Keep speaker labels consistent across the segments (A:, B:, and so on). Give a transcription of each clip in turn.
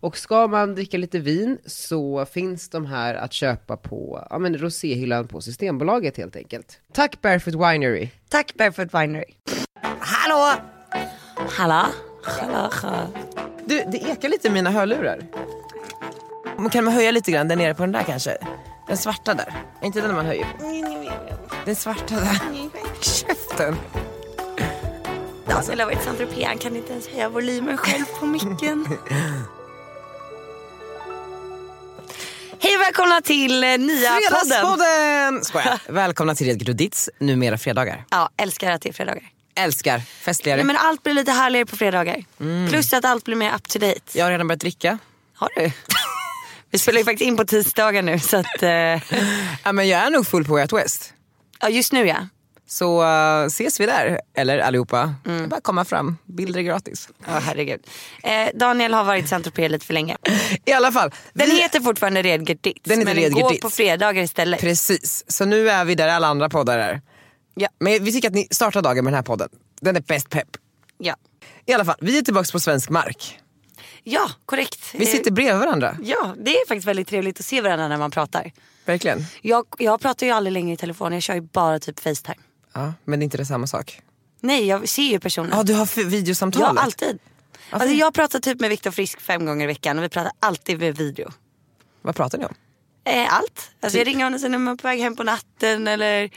A: Och ska man dricka lite vin så finns de här att köpa på ja, men roséhyllan på Systembolaget helt enkelt. Tack Barefoot Winery!
B: Tack Barefoot Winery. Hallå! Hallå? Hallå? hallå.
C: Du, det ekar lite i mina hörlurar. Men Kan man höja lite grann där nere på den där kanske? Den svarta där. Är Inte den man höjer på. Den svarta där. Käften.
B: Jag skulle ha varit Saint-Tropez, han kan inte ens höja volymen själv på micken. Hej och välkomna till eh, nya podden.
C: Fredagspodden! Skojar. Välkomna till Red Grudits, numera fredagar.
B: Ja, älskar att det är fredagar.
C: Älskar festligare.
B: Nej, men allt blir lite härligare på fredagar. Plus att allt blir mer up to date.
C: Jag har redan börjat dricka.
B: Har du? Vi spelar ju faktiskt in på tisdagar nu så att, eh,
C: Ja, men jag är nog full på Way Out West.
B: ja just nu ja.
C: Så eh, ses vi där. Eller allihopa. Det är bara att komma fram. Bilder är gratis.
B: Ja herregud. Eh, Daniel har varit i Saint-Tropez lite för länge.
C: I alla fall.
B: Den
C: vi-
B: heter fortfarande Redgert Ditz
C: Den heter
B: men
C: Redgert
B: gå
C: Ditz.
B: på fredagar istället.
C: Precis, så nu är vi där alla andra poddar är.
B: Ja.
C: Men vi tycker att ni startar dagen med den här podden. Den är bäst pepp.
B: ja.
C: I alla fall, vi är tillbaka på svensk mark.
B: ja, korrekt.
C: Vi
B: Eh,
C: sitter bredvid varandra.
B: Ja, det är faktiskt väldigt trevligt att se varandra när man pratar.
C: Verkligen.
B: Jag, jag pratar ju aldrig längre i telefon, jag kör ju bara typ Facetime.
C: Ja, men det är inte det samma sak.
B: Nej, jag ser ju personen.
C: Ja, du har f- videosamtalet.
B: Ja, alltid. Alltså, jag pratar typ med Viktor Frisk fem gånger i veckan och vi pratar alltid med video.
C: Vad pratar ni om?
B: Eh, allt. Alltså,
C: Typ.
B: Jag ringer honom sen när man är på väg hem på natten eller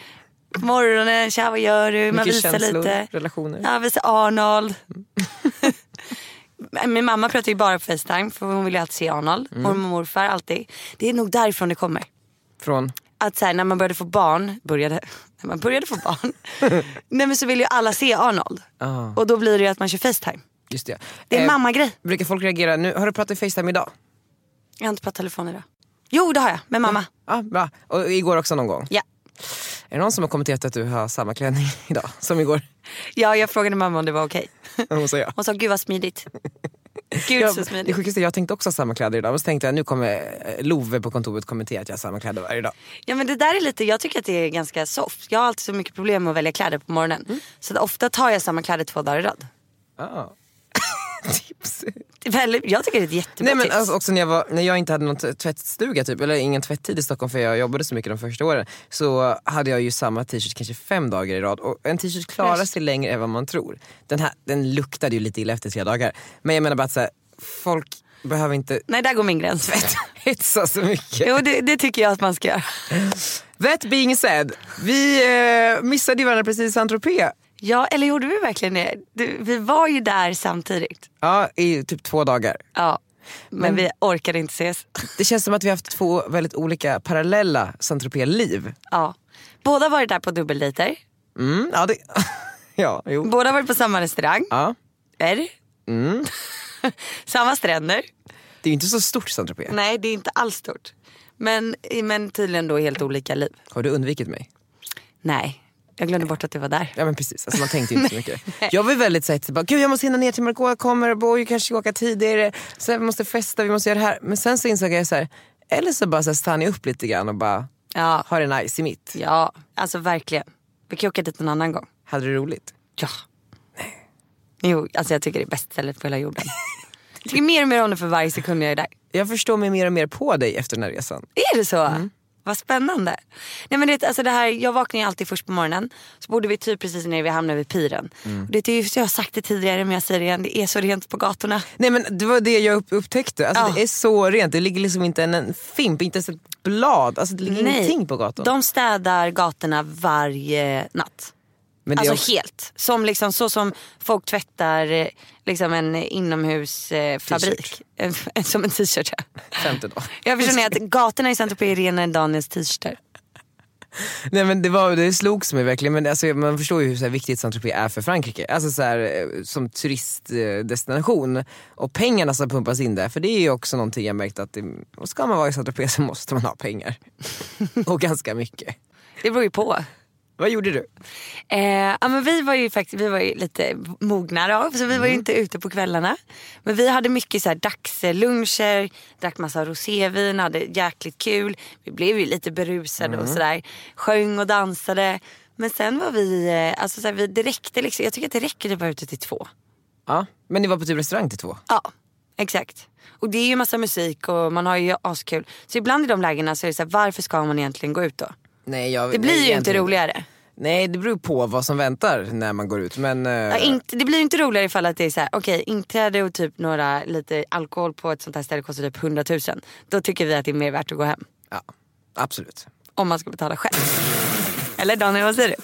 B: på morgonen. Tja vad gör du? Man
C: Mycket
B: visar
C: känslor,
B: lite.
C: relationer. Mm.
B: Ja, visar Arnold. Min mamma pratar ju bara på Facetime för hon vill ju alltid se Arnold.
C: Mm.
B: Mormor och morfar alltid. Det är nog därifrån det kommer.
C: Från?
B: Att så här, när man började få barn, började, när man började få barn. nej men så vill ju alla se Arnold.
C: Ah.
B: Och då blir det ju att man kör Facetime.
C: Just det.
B: Det är en
C: Eh,
B: mammagrej.
C: Brukar folk reagera nu? Har du pratat i Facetime idag?
B: Jag har inte pratat telefon idag. Jo det har jag, med mamma.
C: Ja, bra. Och igår också någon gång?
B: Ja.
C: Är det någon som har kommenterat att du har samma klänning idag som igår?
B: Ja jag frågade mamma om det var okej.
C: Hon sa ja.
B: Hon sa gud vad smidigt. Gud
C: Jag,
B: så
C: det
B: smidigt.
C: sjukaste, jag tänkte också ha samma kläder idag. Men så tänkte jag nu kommer eh, Love på kontoret kommentera att jag har samma kläder varje dag.
B: Ja men det där är lite, jag tycker att det är ganska soft. Jag har alltid så mycket problem med att välja kläder på morgonen.
C: Mm.
B: Så att ofta tar jag samma kläder två dagar i rad.
C: Ah. Tips.
B: Det är väldigt- Jag tycker det är ett jättebra
C: Nej, men
B: tips.
C: alltså också när jag, var, när jag inte hade någon t- tvättstuga, typ, eller ingen tvätttid i Stockholm för jag jobbade så mycket de första åren. Så hade jag ju samma t-shirt kanske fem dagar i rad. Och en t-shirt klarar sig längre än vad man tror. Den här den luktade ju lite illa efter tre dagar. Men jag menar bara att så här, folk behöver inte
B: Nej där går min gräns.
C: hetsa så mycket.
B: Jo det, det tycker jag att man ska göra.
C: That being said, vi eh, missade ju varandra precis i Saint-Tropez.
B: Ja eller gjorde vi verkligen det? Du, vi var ju där samtidigt.
C: Ja, i typ två dagar.
B: Ja. Men, vi orkade inte ses.
C: Det känns som att vi har haft två väldigt olika parallella Saint-Tropez-liv.
B: Ja. Båda har varit där på dubbeldejter.
C: Mm, ja, det... ja, jo.
B: Båda har varit på samma restaurang.
C: Ja.
B: Mm. samma stränder.
C: Det är ju inte så stort Saint-Tropez.
B: Nej det är inte alls stort. Men, men tydligen då helt olika liv.
C: Har du undvikit mig?
B: Nej, jag glömde bort att du var där.
C: Ja men precis, alltså, man tänkte ju inte så mycket. Jag var väldigt såhär, typ, bara, gud jag måste hinna ner till Margot, jag kommer, Boy kanske ska åka tidigare, sen, vi måste festa, vi måste göra det här. Men sen så insåg jag så här, eller så bara så här, stannar jag upp lite grann och bara "Ah,
B: Ja.
C: har det nice i mitt.
B: Ja, alltså verkligen. Vi kan ju åka dit någon annan gång.
C: Hade det roligt.
B: Ja. Nej. Jo, alltså jag tycker det är bäst stället på hela jorden. jag tycker mer och mer om det för varje sekund jag är där.
C: Jag förstår mig mer och mer på dig efter den här resan.
B: Är det så? Vad spännande. Nej, men det, alltså det här, jag vaknar ju alltid först på morgonen. Så bodde vi typ precis nere vid hamnen vid piren. Och Det är ju, jag har sagt det tidigare men jag säger det igen, det är så rent på gatorna.
C: Nej men det var det jag upp, upptäckte, alltså,
B: Ja.
C: det är så rent, det ligger liksom inte en, en fimp, inte ens ett blad, alltså, det ligger ingenting på gatan.
B: De städar gatorna varje natt.
C: Men det är
B: Alltså
C: också-
B: helt. Som liksom, så som folk tvättar eh, liksom en inomhusfabrik. som en t-shirt. ja.
C: Femte dag.
B: Jag förstår ni att gatorna i Saint Tropez är renare än Daniels t-shirtar.
C: Nej men det, var, det slogs mig verkligen. Men alltså, man förstår ju hur så här viktigt Saint-Tropez är för Frankrike. Alltså så här, eh, som turistdestination. Och pengarna som pumpas in där. För det är ju också någonting jag märkt att det, och ska man vara i Saint-Tropez så måste man ha pengar. och ganska mycket.
B: Det beror ju på.
C: Vad gjorde du?
B: Eh, ja, men vi var ju faktiskt vi var ju lite mognare av så vi var ju inte ute på kvällarna. Men vi hade mycket så här dagsluncher, drack massa rosévin, hade jäkligt kul. Vi blev ju lite berusade och sådär. Sjöng och dansade. Men sen var vi, eh, alltså så här, vi, det räckte liksom. Jag tycker att det räcker att vara ute till två.
C: Ja, men ni var på typ restaurang till två?
B: Ja, exakt. Och det är ju massa musik och man har ju askul. Så ibland i de lägena så är det så här, varför ska man egentligen gå ut då?
C: Nej, jag,
B: Det blir
C: nej,
B: ju inte
C: egentligen-
B: roligare.
C: Nej det beror på vad som väntar när man går ut. Men, eh,
B: Ja, inte, det blir ju inte roligare ifall att det är så här, okej inträde och typ några lite alkohol på ett sånt här ställe kostar typ 100 000. Då tycker vi att det är mer värt att gå hem.
C: ja, absolut.
B: Om man ska betala själv. Eller Daniel vad säger du?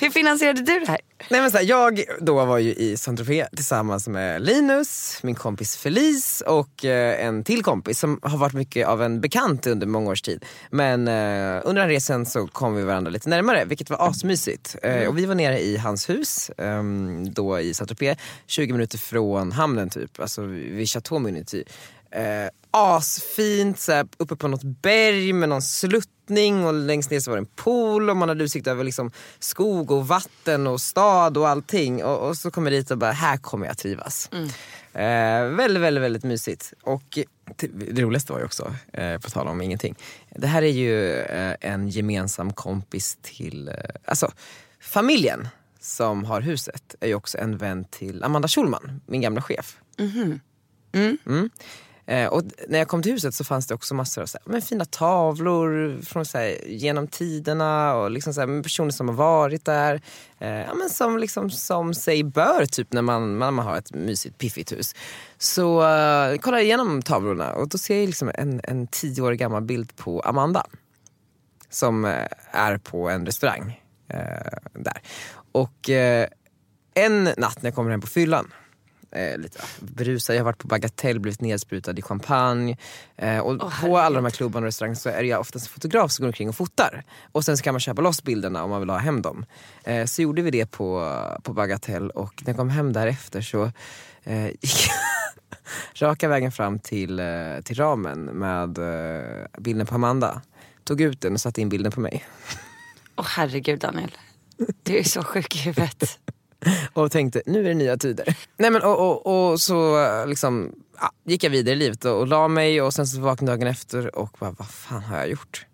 B: Hur finansierade du det här?
C: Nej, men så här, jag då var ju i Saint-Tropez tillsammans med Linus, min kompis Felice och eh, en till kompis som har varit mycket av en bekant under många års tid. Men eh, under den resan så kom vi varandra lite närmare vilket var asmysigt. Eh, och vi var nere i hans hus ehm, då i Saint-Tropez, 20 minuter från hamnen typ, alltså vid Chateau Munity. Eh, asfint, så här, uppe på något berg med någon sluttning och längst ner så var det en pool och man hade utsikt över liksom skog och vatten och stad och allting. Och, och så kom jag dit och bara, här kommer jag trivas. Eh, väldigt, väldigt, väldigt mysigt. Och t- det roligaste var ju också, eh, på tal om ingenting, det här är ju eh, en gemensam kompis till, eh, alltså familjen som har huset är ju också en vän till Amanda Schulman, min gamla chef. Eh, och d- när jag kom till huset så fanns det också massor av så här, men fina tavlor från så här, genom tiderna och liksom så här, men personer som har varit där. Eh, ja, men som, liksom, som sig bör typ när man, när man har ett mysigt piffigt hus. Så eh, kollar jag igenom tavlorna och då ser jag liksom en, en tio år gammal bild på Amanda som eh, är på en restaurang eh, där. Och eh, en natt när jag kommer hem på fyllan, eh, lite ah, berusad, jag har varit på Bagatell, blivit nedsprutad i champagne. Eh, och på alla de här klubbarna och restaurangerna så är det ju oftast en fotograf som går omkring och fotar. Och sen så kan man köpa loss bilderna om man vill ha hem dem. Eh, så gjorde vi det på, på Bagatell och när jag kom hem därefter så eh, gick jag raka vägen fram till, eh, till ramen med eh, bilden på Amanda. Tog ut den och satte in bilden på mig.
B: Åh herregud Daniel. Du är så sjuk i huvudet.
C: Och tänkte, nu är det nya tider. Nej, men, och, och, och så eh, liksom, ja, gick jag vidare i livet och, och la mig och sen så vaknade jag dagen efter och bara, vad fan har jag gjort?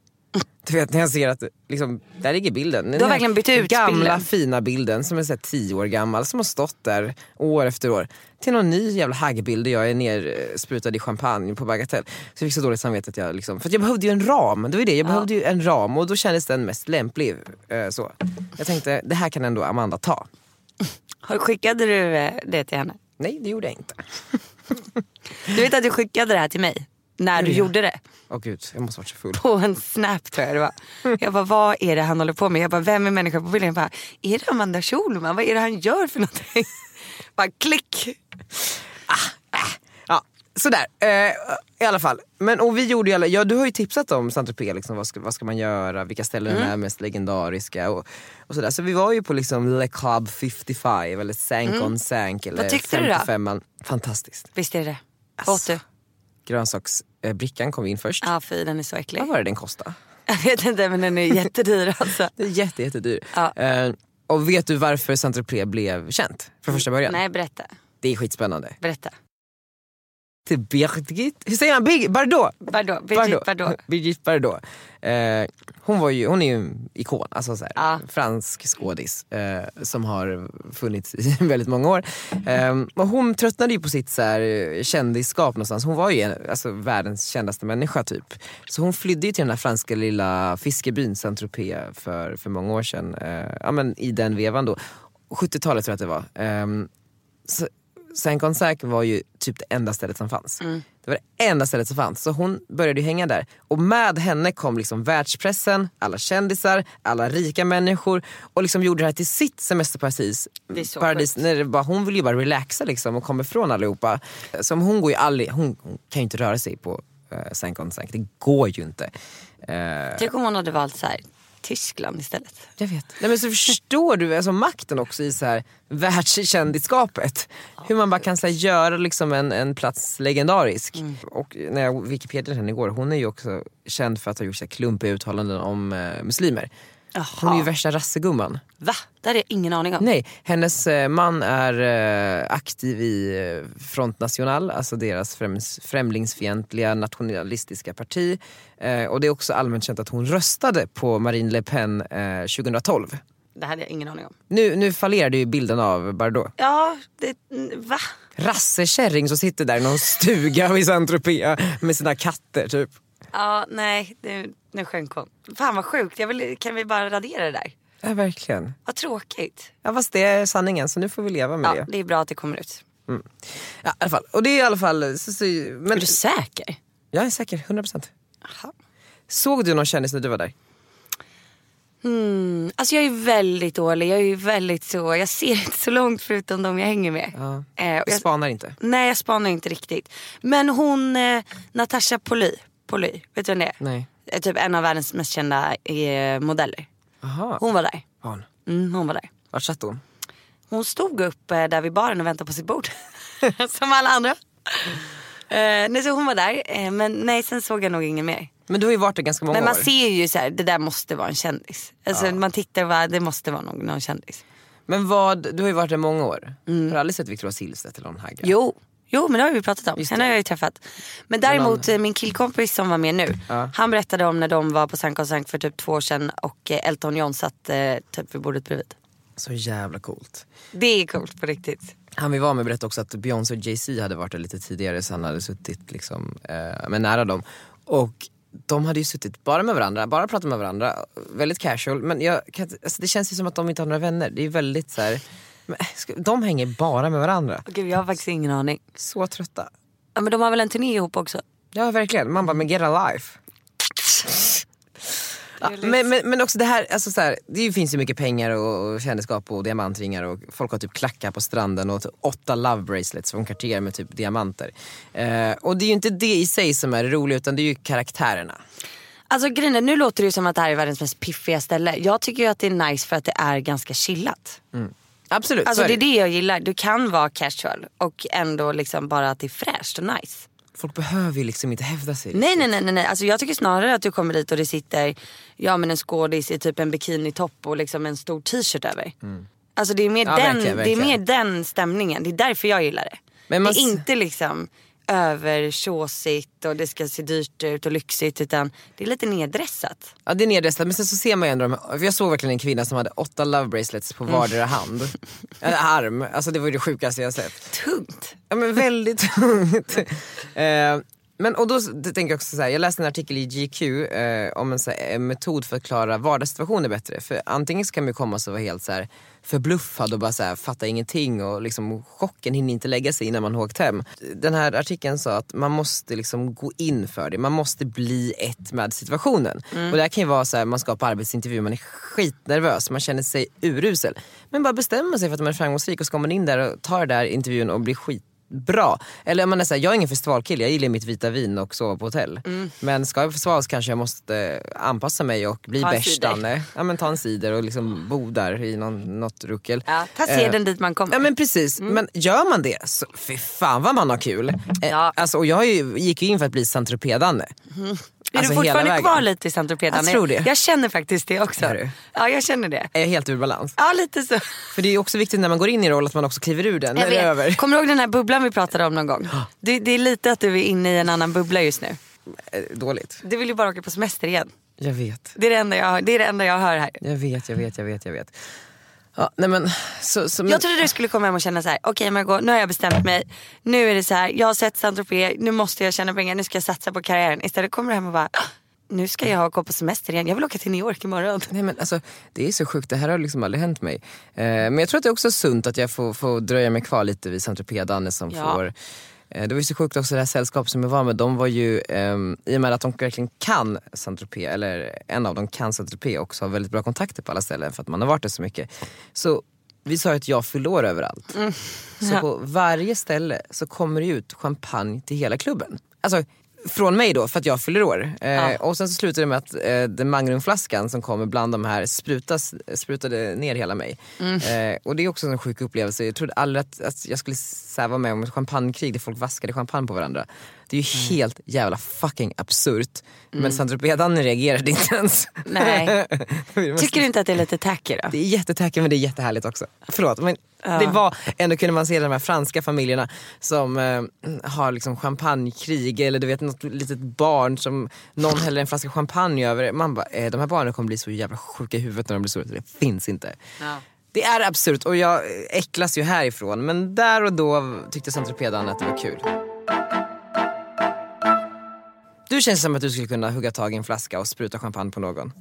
C: Du vet när jag ser att, liksom, där ligger bilden. Du
B: verkligen bytt ut
C: Gamla
B: bilden.
C: fina bilden som är så här, tio år gammal som har stått där år efter år. Till någon ny jävla haggbild där jag är nersprutad i champagne på Bagatell. Så jag fick så dåligt samvete att jag liksom, för att jag behövde ju en ram. Det var ju det, jag behövde ju en ram och då kändes den mest lämplig. Eh, så. Jag tänkte, det här kan ändå Amanda ta.
B: Har- Skickade du eh, det till henne?
C: Nej det gjorde jag inte.
B: Du vet att du skickade det här till mig? När du gjorde det?
C: Åh gud, jag måste ha varit så full.
B: på en snap tror jag det var. Jag bara, vad är det han håller på med? Jag bara, vem är människan på bilden? Jag bara, är det Amanda Schulman? Vad är det han gör för någonting? Bara klick.
C: Ja, sådär. Eh, I alla fall. Men, och vi gjorde ju alla, ja, du har ju tipsat om Saint Tropez, liksom, vad, ska, vad ska man göra, vilka ställen är mest legendariska och, och sådär. Så vi var ju på liksom Le Club 55 eller Sank on Sank eller
B: Vad tyckte du då?
C: 55an. Fantastiskt.
B: Visst är det det? Åt
C: Alltså.
B: du?
C: Grönsaksbrickan eh, brickan kom in först.
B: Ja fy den är så äcklig.
C: Vad var det den kostade?
B: Jag vet inte men den är jättedyr alltså.
C: Det är jätte, jättedyr.
B: Ja.
C: Eh, och vet du varför Saint Tropez blev känt från första början?
B: Nej berätta.
C: Det är skitspännande.
B: Berätta.
C: Till Birgit, hur säger man? Big, Bardot!
B: Vadå? Birgit vadå?
C: Brigitte Bardot. Eh, hon, var ju, hon är ju en ikon, alltså så här,
B: Ja.
C: fransk skådis eh, som har funnits i väldigt många år. Eh, och hon tröttnade ju på sitt så här, eh, kändisskap någonstans. Hon var ju en, alltså, världens kändaste människa typ. Så hon flydde ju till den här franska lilla fiskebyn Saint-Tropez för, för många år sedan. Eh, ja, men I Ehm, den vevan då. 70-talet tror jag att det var. Eh, så- Sank on Sack var ju typ det enda stället som fanns.
B: Mm.
C: Det var det enda stället som fanns. Så hon började ju hänga där. Och med henne kom liksom världspressen, alla kändisar, alla rika människor och liksom gjorde det här till sitt semesterparadis.
B: Det är så
C: paradis,
B: sjukt.
C: när det bara, hon vill ju bara relaxa liksom och komma ifrån allihopa. Som hon, går ju aldrig, hon, hon kan ju inte röra sig på uh, sänk on sänk. Det går ju inte. Eh,
B: Tänk om hon hade valt så här, Tyskland istället.
C: jag vet. Nej, men så förstår du alltså, makten också i så här, världskändiskapet. Hur man bara kan så här, göra liksom, en, en plats legendarisk. Och när jag Wikipedia henne igår, hon är ju också känd för att ha gjort så här, klumpiga uttalanden om eh, muslimer. Hon är ju värsta rassegumman.
B: Va? Det hade jag ingen aning om.
C: Nej, hennes eh, man är eh, aktiv i eh, Front National, alltså deras främs- främlingsfientliga nationalistiska parti. Eh, och det är också allmänt känt att hon röstade på Marine Le Pen eh, 2012.
B: Det hade jag ingen aning om.
C: Nu, nu fallerade ju bilden av Bardot.
B: Ja, det, va?
C: Rassekärring som sitter där i någon stuga i Saint-Tropez med sina katter typ.
B: Ja, nej, nu, nu sjönk hon. Fan vad sjukt, jag vill, kan vi bara radera det där?
C: Ja verkligen.
B: Vad tråkigt.
C: Ja fast det är sanningen så nu får vi leva med
B: Ja,
C: det.
B: det är bra att det kommer ut.
C: Ja, i alla fall. Och det är i alla fall... Så, så, men,
B: Är du säker?
C: jag är säker, 100%. Såg du någon kändis när du var där?
B: Mm, alltså jag är väldigt dålig, jag är ju väldigt så, jag ser inte så långt förutom de jag hänger med. Eh, och
C: Du
B: jag,
C: spanar inte.
B: nej jag spanar inte riktigt. Men hon, eh, Natasha Poly, Poly, vet du vem det är?
C: Nej.
B: Eh, Typ en av världens mest kända eh, modeller.
C: Aha.
B: Hon var där.
C: Barn.
B: Mm, hon var där.
C: Vart satt hon?
B: Hon stod upp eh, där vid baren och väntade på sitt bord. Som alla andra. Eh, nej, så hon var där, eh, men nej sen såg jag nog ingen mer.
C: Men du har ju varit där ganska många
B: Men man
C: år.
B: ser ju så här, det där måste vara en kändis. Alltså, Man tittar, va, det måste vara någon, någon kändis.
C: Men vad, du har ju varit där många år. Har du aldrig sett Victoria Silvstedt eller någon hagga?
B: Mm. Jo. Jo men det har vi pratat om,
C: Just
B: henne
C: det.
B: har jag ju träffat. Men däremot eh, min killkompis som var med nu, han berättade om när de var på Sankt och Sankt för typ två år sedan och eh, Elton John satt eh, typ vid bordet bredvid.
C: Så jävla coolt.
B: Det är coolt på riktigt.
C: Han vi var med berättade också att Beyoncé och Jay-Z hade varit där lite tidigare så han hade suttit liksom, eh, men nära dem. Och de hade ju suttit bara med varandra, bara pratat med varandra. Väldigt casual. Men jag, kan inte- alltså det känns ju som att de inte har några vänner. Det är ju väldigt så här, men, ska- de hänger bara med varandra.
B: Gud, jag har faktiskt ingen aning.
C: Så trötta.
B: Ja, men de har väl en turné ihop också?
C: Ja verkligen, man bara men get a life. Ja, men, men, men också det här, alltså så här, det finns ju mycket pengar och, och kändisskap och diamantringar och folk har typ klackar på stranden och typ åtta love bracelets från Cartier med typ diamanter. Eh, och det är ju inte det i sig som är det roliga utan det är ju karaktärerna.
B: Alltså grejen är, nu låter det ju som att det här är världens mest piffiga ställe. Jag tycker ju att det är nice för att det är ganska chillat.
C: Absolut,
B: Alltså
C: Mm, så
B: det är det jag gillar. Du kan vara casual och ändå liksom bara att det är fräscht och nice.
C: Folk behöver ju liksom inte hävda sig.
B: Nej nej nej nej, nej. Alltså, jag tycker snarare att du kommer dit och det sitter ja, men en skådis i typ en bikinitopp och liksom en stor t-shirt över. Alltså det är, mer
C: Mm. Ja,
B: den,
C: verkligen,
B: det är
C: verkligen.
B: mer den stämningen. Det är därför jag gillar det.
C: Men man
B: Det är
C: s-
B: inte liksom övertjåsigt och det ska se dyrt ut och lyxigt utan det är lite neddressat.
C: Ja det är nedresslat men sen så ser man ju ändå de, för jag såg verkligen en kvinna som hade åtta love bracelets på
B: Mm.
C: vardera hand. Eller arm, alltså det var ju det sjukaste jag sett.
B: Tungt.
C: Ja, men väldigt tungt. Eh, men, och då s- det tänker jag också så här, jag läste en artikel i GQ eh, om en, så här, en metod för att klara vardagssituationer bättre. För antingen så kan man ju komma och vara helt så här, förbluffad och bara så här, fatta ingenting och liksom, chocken hinner inte lägga sig innan man har åkt hem. Den här artikeln sa att man måste liksom gå in för det, man måste bli ett med situationen. Och det här kan ju vara så här, man ska på arbetsintervju, man är skitnervös, man känner sig urusel. Men bara bestämmer sig för att man är framgångsrik och så kommer man in där och tar den där intervjun och blir skit bra. Eller om man är såhär, jag är ingen festivalkille, jag gillar mitt vita vin och sova på hotell.
B: Mm.
C: Men ska jag på festival så kanske jag måste eh, anpassa mig och bli
B: Ta en
C: bärs
B: cider.
C: Danne. Ja men ta en cider och liksom bo där i någon, något ruckel. Eh,
B: Ja, ta seden dit man kommer.
C: Ja men precis, men gör man det så fy fan vad man har kul. Eh,
B: Ja.
C: Alltså, och jag har ju, gick ju in för att bli Saint Danne.
B: är
C: Mm. alltså,
B: du
C: hela
B: fortfarande
C: vägen.
B: kvar lite i Saint Tropez?
C: Jag tror det.
B: Jag känner faktiskt det också.
C: Är du?
B: Ja jag känner det.
C: Är jag helt ur balans?
B: Ja lite så.
C: För det är ju också viktigt när man går in i roll att man också kliver ur den när det är över.
B: Kommer du ihåg den här bubblan vi pratade om någon gång? Det, det är lite att du är inne i en annan bubbla just nu.
C: Eh, Dåligt.
B: Du vill ju bara åka på semester igen.
C: Jag vet.
B: Det är det enda jag, det är det enda jag hör här.
C: Jag vet, jag vet, jag vet, jag vet. Ja, nej men, så, så, men,
B: Jag trodde du skulle komma hem och känna så här: okej Margot nu har jag bestämt mig. Nu är det så här, jag har sett Saint Tropez, nu måste jag tjäna pengar, nu ska jag satsa på karriären. Istället kommer du hem och bara, "Ah, nu ska jag gå på semester igen, jag vill åka till New York imorgon.
C: Nej men alltså det är så sjukt, det här har liksom aldrig hänt mig. Eh, men jag tror att det är också sunt att jag får, får dröja mig kvar lite vid Saint Tropez Danne som
B: Ja.
C: får Eh, Det var ju så sjukt också det här sällskapet som jag var med, de var ju, ehm, i och med att de verkligen kan saint eller en av dem kan saint också har väldigt bra kontakter på alla ställen för att man har varit där så mycket. Så vi sa ju att jag fyllde år överallt. Så på varje ställe så kommer det ut champagne till hela klubben. Alltså från mig då, för att jag fyller år. Eh,
B: Ja.
C: Och sen så slutade det med att eh, den mangrumflaskan som kommer bland de här sprutas, sprutade ner hela mig.
B: Mm.
C: Eh, och det är också en sjuk upplevelse. Jag trodde aldrig att, att jag skulle så här vara med om ett champagnekrig där folk vaskade champagne på varandra. Det är ju
B: Mm.
C: helt jävla fucking absurt. Men Saint-Tropez-Danny reagerade inte ens.
B: Nej.
C: Vi måste-
B: Tycker du inte att det är lite tacky då?
C: det är jättetacky men det är jättehärligt också. Förlåt men det var, ändå kunde man se de här franska familjerna som eh, har liksom champagnekrig eller du vet något litet barn som någon häller en flaska champagne över. det. Man bara, eh, de här barnen kommer bli så jävla sjuka i huvudet när de blir stora. Det finns inte. Det är absurt och jag äcklas ju härifrån men där och då tyckte centropedan att det var kul. Du känns som att du skulle kunna hugga tag i en flaska och spruta champagne på någon.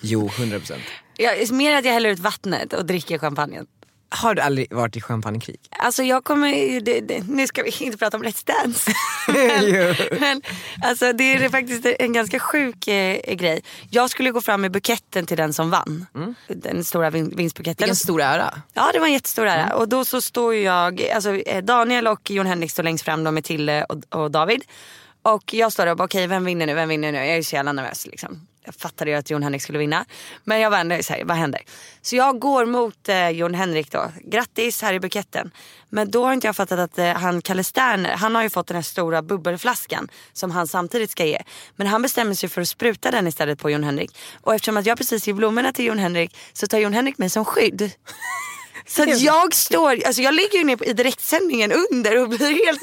C: Jo, 100 procent.
B: Jag, mer att jag häller ut vattnet och dricker champagnen.
C: Har du aldrig varit i champagnekrig?
B: Alltså jag kommer, det, det, nu ska vi inte prata om Let's Dance. Men, men alltså det är faktiskt en ganska sjuk eh, grej. Jag skulle gå fram med buketten till den som vann. Den stora vin, vinstbuketten.
C: Mm. Vilken stor ära.
B: Ja det var en jättestor ära. Och då så står ju jag, alltså eh, Daniel och Jon Henrik står längst fram, de är Tille och, och David. Och jag står där och bara okej vem vinner nu, vem vinner nu? Jag är så jävla nervös liksom. Jag fattade ju att Jon Henrik skulle vinna. Men jag var ändå såhär, vad händer? Så jag går mot eh, Jon Henrik då. Grattis här i buketten. Men då har inte jag fattat att eh, han Kalle Sterner, han har ju fått den här stora bubbelflaskan som han samtidigt ska ge. Men han bestämmer sig för att spruta den istället på Jon Henrik. Och eftersom att jag precis ger blommorna till Jon Henrik så tar Jon Henrik mig som skydd. Så att jag står, alltså jag ligger ju ner på, i direktsändningen under och blir helt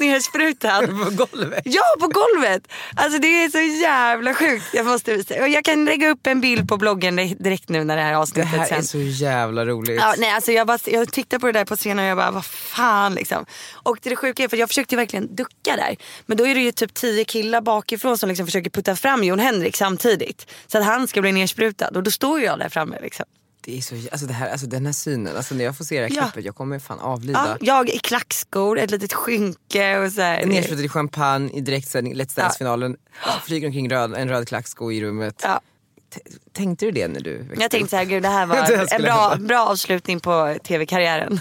B: nersprutad.
C: På golvet.
B: Ja, på golvet! Alltså det är så jävla sjukt. Jag måste visa. Och jag kan lägga upp en bild på bloggen direkt nu när det här
C: Det
B: avsnittet
C: här
B: sen.
C: är så jävla roligt.
B: Ja, nej, alltså jag, bara, jag tittade på det där på scenen och jag bara, vad fan liksom. Och det sjuka är, för jag försökte ju verkligen ducka där. Men då är det ju typ tio killar bakifrån som liksom försöker putta fram Jon Henrik samtidigt. Så att han ska bli nersprutad. Och då står ju jag där framme liksom.
C: Det är så, alltså, det här, alltså den här synen, alltså, när jag får se det här
B: Ja.
C: klippet jag kommer fan
B: Ja,
C: avlida.
B: jag i klackskor, ett litet skynke och så här.
C: Nersprutad i champagne i direktsändning, Let's Dance-finalen. Flyger omkring röd, en röd klacksko i rummet.
B: Ja.
C: T- Tänkte du det när du växte
B: Jag tänkte
C: upp?
B: så här, gud det här
C: Det här
B: var en
C: skulle
B: bra,
C: hända.
B: bra avslutning på tv-karriären.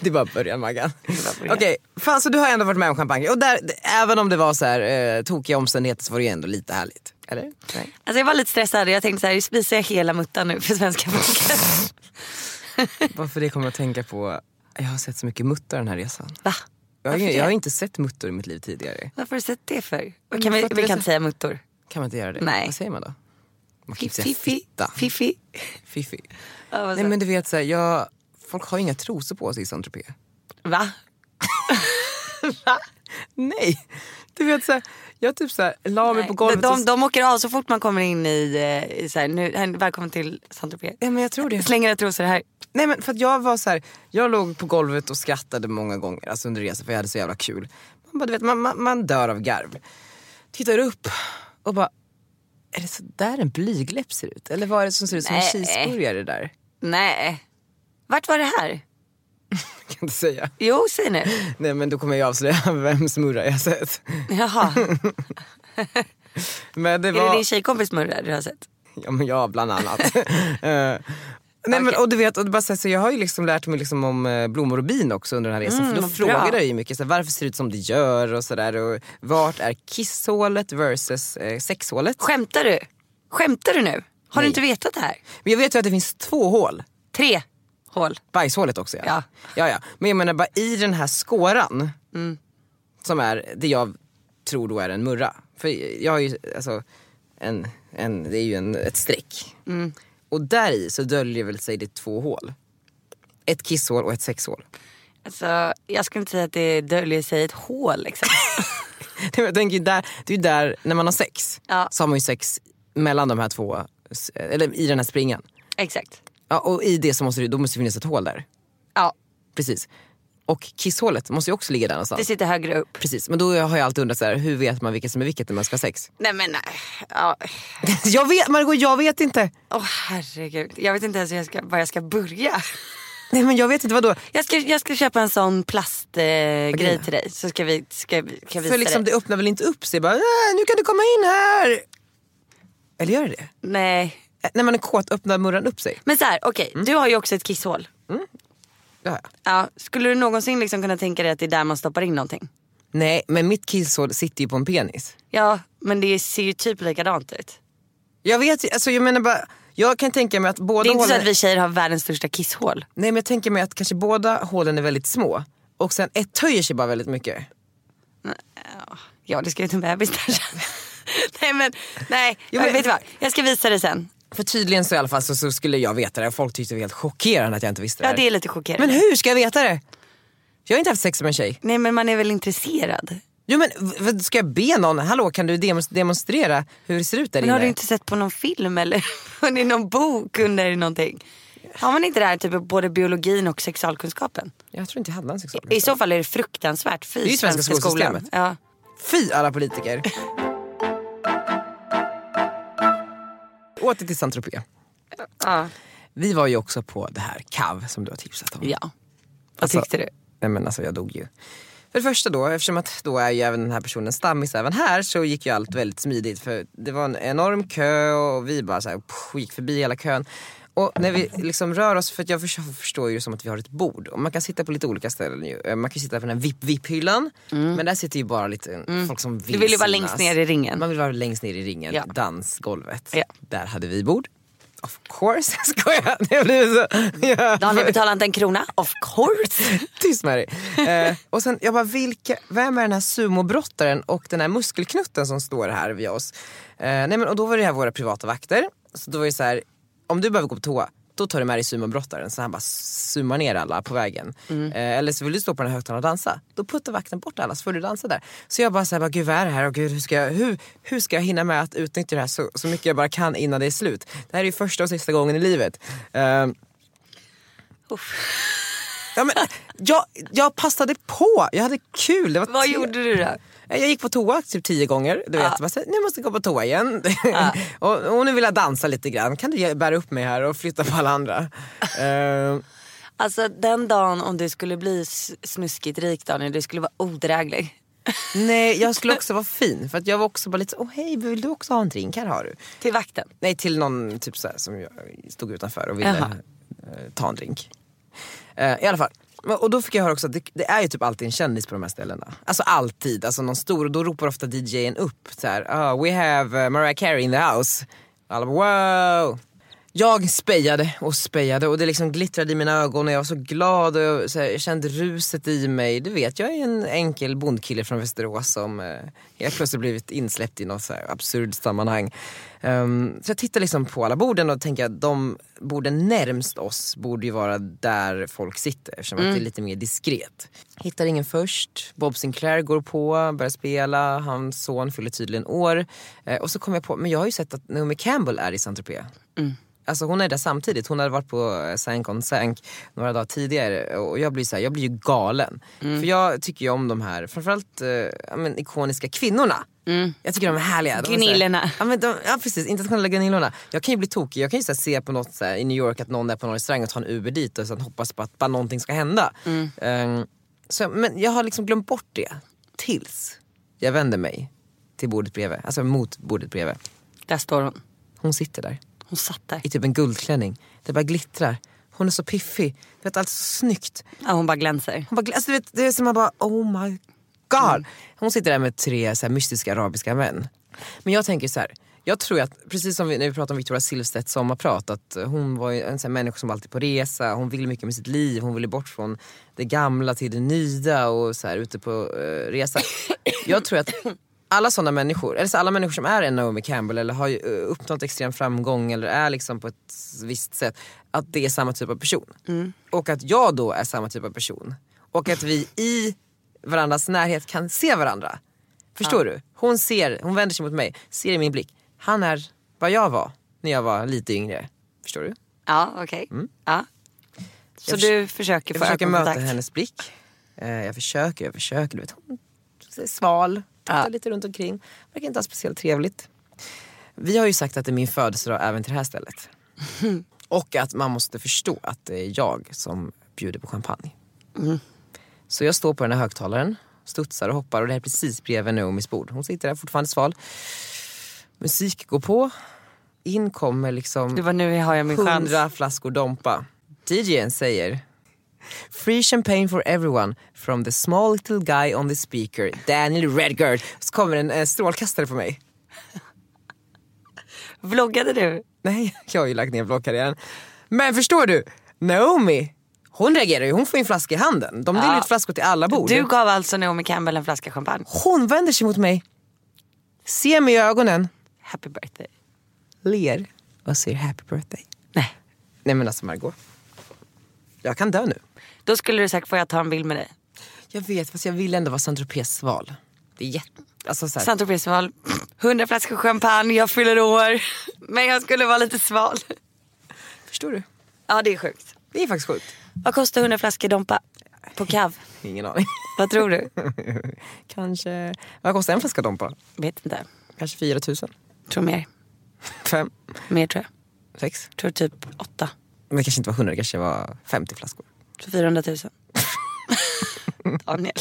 C: Det är bara början Maggan.
B: bara
C: Okej,
B: början.
C: fan så du har ändå varit med om champagne. Och där, d- även om det var så här, eh, tokiga omständigheter så var det ju ändå lite härligt. Eller? Nej.
B: Alltså jag var lite stressad jag tänkte så här, spisar jag hela muttan nu för svenska folket?
C: Varför det kommer jag att tänka på, jag har sett så mycket muttar den här resan.
B: Va?
C: Jag har,
B: Varför
C: ingen, jag
B: det?
C: har inte sett muttor i mitt liv tidigare.
B: Varför har du sett det för? Och
C: men
B: Kan vi,
C: för att
B: vi
C: det är
B: kan
C: så-
B: inte säga muttor.
C: Kan man inte göra det?
B: Nej.
C: Vad säger man då? Man kan inte säga
B: Fiffi.
C: Typ fitta.
B: Fiffi.
C: Fiffi.
B: Ja, vad
C: Nej
B: sa-
C: men du vet såhär, jag, folk har ju inga trosor på sig i saint
B: Va?
C: Nej. Du vet såhär, jag typ såhär la mig
B: Nej.
C: på golvet
B: de,
C: och...
B: de, de åker av så fort man kommer in i, eh, i så här, nu, här, välkommen till Saint-Tropez.
C: Ja, men jag tror det.
B: Släng era trosor här.
C: Nej men för att jag var så här, jag låg på golvet och skrattade många gånger alltså under resan för jag hade så jävla kul. Man, bara, du vet, man, man, man dör av garv. Tittar upp och bara, är det så där en blygläpp ser ut? Eller vad är det som ser ut som en
B: Nej.
C: cheeseburgare där?
B: Nej. Vart var det här?
C: Kan inte säga.
B: Jo, säg nu.
C: Nej men då kommer jag avslöja vems murra jag sett.
B: Jaha,
C: Men det
B: är det
C: var,
B: din tjejkompis Murra du har sett?
C: ja men jag bland annat. Eh, Nej men
B: Okej.
C: och du vet, och det bara så här, så jag har ju liksom lärt mig liksom om eh, blommor och bin också under den här resan. för då
B: Mm, vad bra.
C: frågade jag ju mycket, så här, varför ser det ut som det gör och sådär. Vart är kisshålet versus eh, sexhålet?
B: Skämtar du? Skämtar du nu? Har
C: Nej.
B: du inte vetat det här?
C: Men jag vet ju att det finns två hål.
B: Tre hål.
C: Bajshålet också
B: Ja.
C: ja. ja, ja. Men jag menar bara i den här skåran. Som är det jag tror då är en murra. För jag har ju alltså en, en, det är ju en, ett streck. Och där i så döljer väl sig det två hål. Ett kisshål och ett sexhål.
B: Alltså, jag skulle inte säga att det döljer sig ett hål liksom.
C: Jag tänker ju där, det är ju där när man har sex.
B: Ja.
C: Så har man ju sex mellan de här två, eller i den här springan.
B: Exakt.
C: Ja, och i det så måste det, då måste det finnas ett hål där.
B: Ja,
C: Precis. Och kisshålet måste ju också ligga där någonstans.
B: det sitter högre upp.
C: Precis, men då har jag alltid undrat så här, hur vet man vilket som är vilket när man ska ha sex?
B: Nej men nej. Ja.
C: Jag vet, Margot, jag vet inte!
B: Åh herregud. Jag vet inte ens hur jag ska, var jag ska börja.
C: Nej men jag vet inte, vadå?
B: Jag ska, jag ska köpa en sån plast festgrej eh, grej till dig. Så ska vi, ska, vi- ska jag visa
C: För liksom, det
B: dig.
C: öppnar väl inte upp sig bara, "Äh, nu kan du komma in här. Eller gör det det?
B: Nej.
C: Äh, När man är kåt öppnar murran upp sig.
B: Men så här, okej. Du har ju också ett kisshål.
C: Det har jag.
B: Ja, skulle du någonsin liksom kunna tänka dig att det är där man stoppar in någonting?
C: Nej men mitt kisshål sitter ju på en penis.
B: Ja, men det ser ju typ likadant ut.
C: Jag vet ju- alltså jag menar bara, jag kan tänka mig att båda
B: Det är inte så
C: hålen...
B: att vi tjejer har världens största kisshål.
C: Nej men jag tänker mig att kanske båda hålen är väldigt små. Och sen ett töjer sig bara väldigt mycket.
B: Ja, det ska ju till en bebis där sen. Nej men, nej.
C: Jo,
B: men,
C: men-
B: vet du vad? Jag ska visa det sen.
C: För tydligen så i alla fall så, så skulle jag veta det. Folk tyckte det var helt chockerande att jag inte visste det,
B: Ja,
C: här.
B: det är lite chockerande.
C: Men hur ska jag veta det? Jag har inte haft sex med en tjej.
B: Nej men man är väl intresserad?
C: Jo men v- vad ska jag be någon, hallå kan du demos- demonstrera hur det ser ut där
B: Men
C: inne?
B: har du inte sett på någon film eller i någon bok under någonting? Har man inte det här typ både biologin och sexualkunskapen?
C: Jag tror inte jag hade en sexual
B: I så fall är det fruktansvärt. Fy,
C: är ju svenska
B: skolan.
C: skolsystemet.
B: Ja.
C: Fy alla politiker. Åter till saint -Tropez.
B: Ja.
C: Vi var ju också på det här CAV som du har tipsat om.
B: ja. Vad
C: Alltså-
B: tyckte du?
C: Nej men alltså jag dog ju. För det första då, eftersom att då är ju även den här personen stammis även här så gick ju allt väldigt smidigt för det var en enorm kö och vi bara så här, pff, gick förbi hela kön. Och när vi liksom rör oss, för att jag förs- förstår ju som att vi har ett bord och man kan sitta på lite olika ställen ju. Eh, Man kan ju sitta på den här VIP-VIP-hyllan men där sitter ju bara lite eh, folk som vill
B: Mm. Du vill ju vara
C: synas.
B: längst ner i ringen.
C: Man vill vara längst ner i ringen,
B: Ja.
C: dansgolvet.
B: Ja.
C: Där hade vi bord. Of course, skojar. Det blir så. Ja.
B: Daniel betalar inte en krona. Of course.
C: Tyst med dig. Eh, och sen, jag bara, vilka, vem är den här sumobrottaren och den här muskelknutten som står här vid oss? Eh, nej men, och då var det här våra privata vakter. Så då var det så här, om du behöver gå på toa, då tar du med dig sumobrottaren. Så han bara summar ner alla på vägen. Eh, eller så vill du stå på den här högtalaren och dansa. Då puttar vakten bort alla så får du dansa där. Så jag bara, så här, bara gud vad är det här? Och gud, hur, ska jag, hur, hur ska jag hinna med att utnyttja det här så, så mycket jag bara kan innan det är slut? Det här är ju första och sista gången i livet. Eh, Ja, men, jag, jag passade på, jag hade kul. Det var
B: Vad
C: tre-
B: gjorde du då? Ah.
C: Jag gick på toa typ tio gånger. Du vet, bara, så här, nu måste jag gå på toa igen. och, och nu vill jag dansa lite grann. Kan du ge- bära upp mig här och flytta på alla andra? Eh,
B: Alltså den dagen om du skulle bli s- snuskigt rik Daniel, du skulle vara odräglig.
C: nej, jag skulle också vara fin. För att jag var också bara lite så, åh hej, vill du också ha en drink? Här har du.
B: Till vakten.
C: Nej, till någon typ så här, som jag stod utanför och ville
B: Jaha.
C: eh, ta en drink. Eh, I alla fall. Men- Och då fick jag höra också att det, det är ju typ alltid en kändis på de här ställena. Alltså alltid, alltså någon stor. Och då ropar ofta DJn upp så här, "Ah, we have eh, Mariah Carey in the house. Alla bara, wow. Jag spejade och spejade och det liksom glittrade i mina ögon och jag var så glad och jag, så här, jag kände ruset i mig. Du vet, jag är ju en enkel bondkille från Västerås som eh, helt plötsligt blivit insläppt i något så här absurd sammanhang. Ehm, så jag tittar liksom på alla borden och tänker att de borden närmst oss borde ju vara där folk sitter eftersom att det är lite mer diskret. Hittar ingen först, Bob Sinclair går på, börjar spela, hans son fyller tydligen år. Eh, och så kommer jag på, men jag har ju sett att Naomi Campbell är i Saint-Tropez. Alltså hon är där samtidigt. Hon hade varit på eh, Sank on Sank några dagar tidigare och jag blir så här, jag blir ju galen. För jag tycker ju om de här, framförallt eh, ja, men, ikoniska kvinnorna. Jag tycker de är härliga. De är så här-
B: Gnillorna.
C: Ja, men de, ja precis, internationella gnillorna. Jag kan ju bli tokig. Jag kan ju så här, se på något så här, i New York att någon är på någon restaurang och tar en Uber dit och sen hoppas på att bara någonting ska hända. Ehm, så, men jag har liksom glömt bort det tills jag vänder mig till bordet bredvid. Alltså mot bordet bredvid.
B: Där står hon.
C: Hon sitter där
B: Hon satt där.
C: i typ en guldklänning. Det bara glittrar. Hon är så piffig. Du vet, allt är så snyggt.
B: Ja, hon bara glänser.
C: Hon bara, gl- alltså, du vet, det är som att man bara oh my god. Mm. Hon sitter där med tre så här, mystiska arabiska män. Men jag tänker så här. Jag tror att, precis som vi, när vi pratade om Victoria Silvstedts sommarprat, att hon var ju en sån här människa som var alltid på resa, hon ville mycket med sitt liv, hon ville bort från det gamla till det nya och så här ute på eh, resa. Jag tror att alla sådana människor, eller så alla människor som är en Naomi Campbell eller har ju, eh, uppnått extrem framgång eller är liksom på ett visst sätt, att det är samma typ av person. Och att jag då är samma typ av person. Och att vi i varandras närhet kan se varandra. Förstår du? Hon ser, hon vänder sig mot mig, ser i min blick. Han är vad jag var när jag var lite yngre. Förstår du?
B: Ja, okej. Ja. Så
C: Jag förs-
B: du försöker
C: Jag
B: få
C: försöker möta
B: ögonkontakt?
C: hennes blick. Eh, Jag försöker, jag försöker. Du vet, hon är sval, tittar
B: Ja.
C: lite runt omkring. Verkar inte ha speciellt trevligt. Vi har ju sagt att det är min födelsedag även till det här stället.
B: Mm.
C: Och att man måste förstå att det är jag som bjuder på champagne. Så jag står på den här högtalaren, studsar och hoppar och det här är precis bredvid Naomis bord. Hon sitter där fortfarande sval. Musik går på. In kommer liksom
B: Du bara, nu har jag min chans.
C: hundra flaskor Dompa. DJn säger Free champagne for everyone from the small little guy on the speaker, Daniel Redgert. Så kommer en eh, strålkastare på mig.
B: Vloggade du?
C: Nej, jag har ju lagt ner bloggkarriären. Men förstår du, Naomi, hon reagerar ju. Hon får ju en flaska i handen. De delar
B: Ja.
C: ut flaskor till alla bord.
B: Du gav alltså Naomi Campbell en flaska champagne.
C: Hon vänder sig mot mig, ser mig i ögonen,
B: Happy birthday.
C: ler och säger happy birthday.
B: Nej.
C: Nej men alltså Margot, jag kan dö nu.
B: Då skulle du sagt, får jag ta en bild med dig?
C: Jag vet, fast jag vill ändå vara Saint-Tropez sval. Det är jätte... Alltså så här,
B: Santo Prisval, 100 flaskor champagne, jag fyller år. Men jag skulle vara lite sval.
C: förstår du?
B: Ja det är sjukt.
C: Det är faktiskt sjukt.
B: Vad kostar 100 flaskor Dompa? På kav?
C: Ingen aning.
B: Vad tror du?
C: Kanske... Vad kostar en flaska Dompa?
B: Vet inte.
C: Kanske 4 000?
B: Tror mer.
C: 5?
B: Mer tror jag.
C: 6?
B: Tror typ 8.
C: Men det kanske inte var 100, det kanske var 50 flaskor.
B: Tror 400 000. Daniel.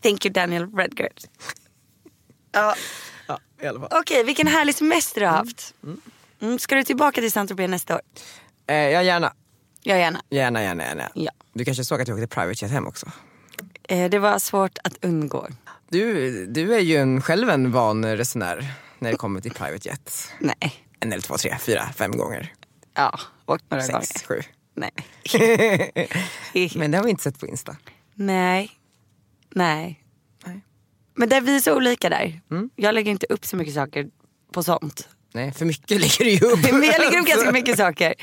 B: Thank you Daniel Redgert. Ja,
C: Ja, i alla fall.
B: Okej, vilken härlig semester du har haft. Mm, ska du tillbaka till Saint Tropez nästa år?
C: Eh, ja, gärna.
B: Ja, gärna.
C: Gärna, gärna, gärna.
B: Ja.
C: Du kanske såg att jag åkte private jet hem också?
B: Eh, det var svårt att undgå.
C: Du, du är ju en, själv en van resenär när det kommer till private jet.
B: Nej.
C: En eller två, tre, fyra, fem gånger.
B: Ja, åkt några
C: Sex,
B: gånger.
C: sju.
B: Nej.
C: Men det har vi inte sett på Insta.
B: Nej. Nej.
C: Nej. Mm.
B: Men där vi är så olika där. Jag lägger inte upp så mycket saker på sånt.
C: Nej, för mycket lägger du ju upp.
B: Men jag lägger upp liksom ganska mycket saker.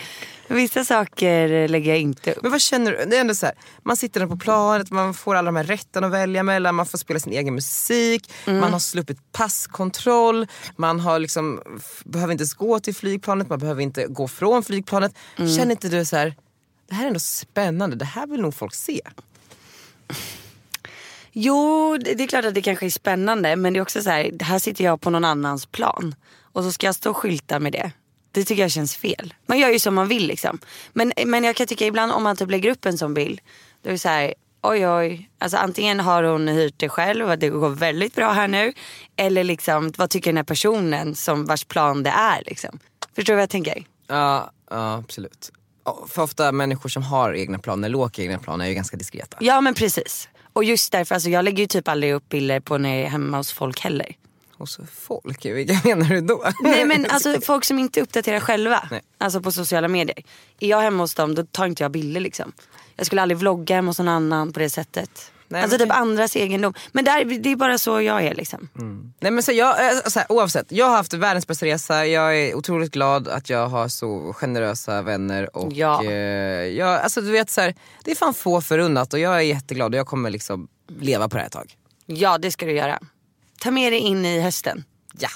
B: Vissa saker lägger jag inte upp.
C: Men vad känner du? Det är ändå så här, man sitter där på planet, man får alla de här rätterna att välja mellan, man får spela sin egen musik, man har sluppit passkontroll, man har liksom, f- behöver inte ens gå till flygplanet, man behöver inte gå från flygplanet. Känner inte du så här, det här är ändå spännande, det här vill nog folk se.
B: Jo, det det är klart att det kanske är spännande. Men det är också så här, här sitter jag på någon annans plan. Och så ska jag stå och skylta med det. Det tycker jag känns fel. Man gör ju som man vill liksom. Men, men jag kan tycka ibland om man typ lägger upp en sån bild. Då är det så här, oj oj. Alltså antingen har hon hyrt det själv och det går väldigt bra här nu. Eller liksom, vad tycker den här personen som vars plan det är liksom. Förstår du vad jag tänker?
C: Ja, ja absolut. Ja, För ofta människor som har egna planer, eller åker egna planer, är ju ganska diskreta.
B: Ja men precis. Och just därför, alltså jag lägger ju typ aldrig upp bilder på när jag är hemma hos folk heller.
C: Och så folk, vilka menar du då?
B: Nej men alltså folk som inte uppdaterar själva.
C: Nej.
B: Alltså på sociala medier. Är jag hemma hos dem då tar inte jag bilder liksom. Jag skulle aldrig vlogga hemma hos någon annan på det sättet.
C: Nej,
B: alltså
C: men
B: typ
C: det-
B: andras egendom. Men där, det är bara så jag är liksom.
C: Nej men så jag, eh, så här, oavsett, jag har haft världens bästa resa, jag är otroligt glad att jag har så generösa vänner och
B: Ja.
C: eh, jag, alltså du vet så här, det är fan få förunnat och jag är jätteglad och jag kommer liksom leva på det här ett tag.
B: Ja det ska du göra. Ta med dig in i hösten.
C: Ja.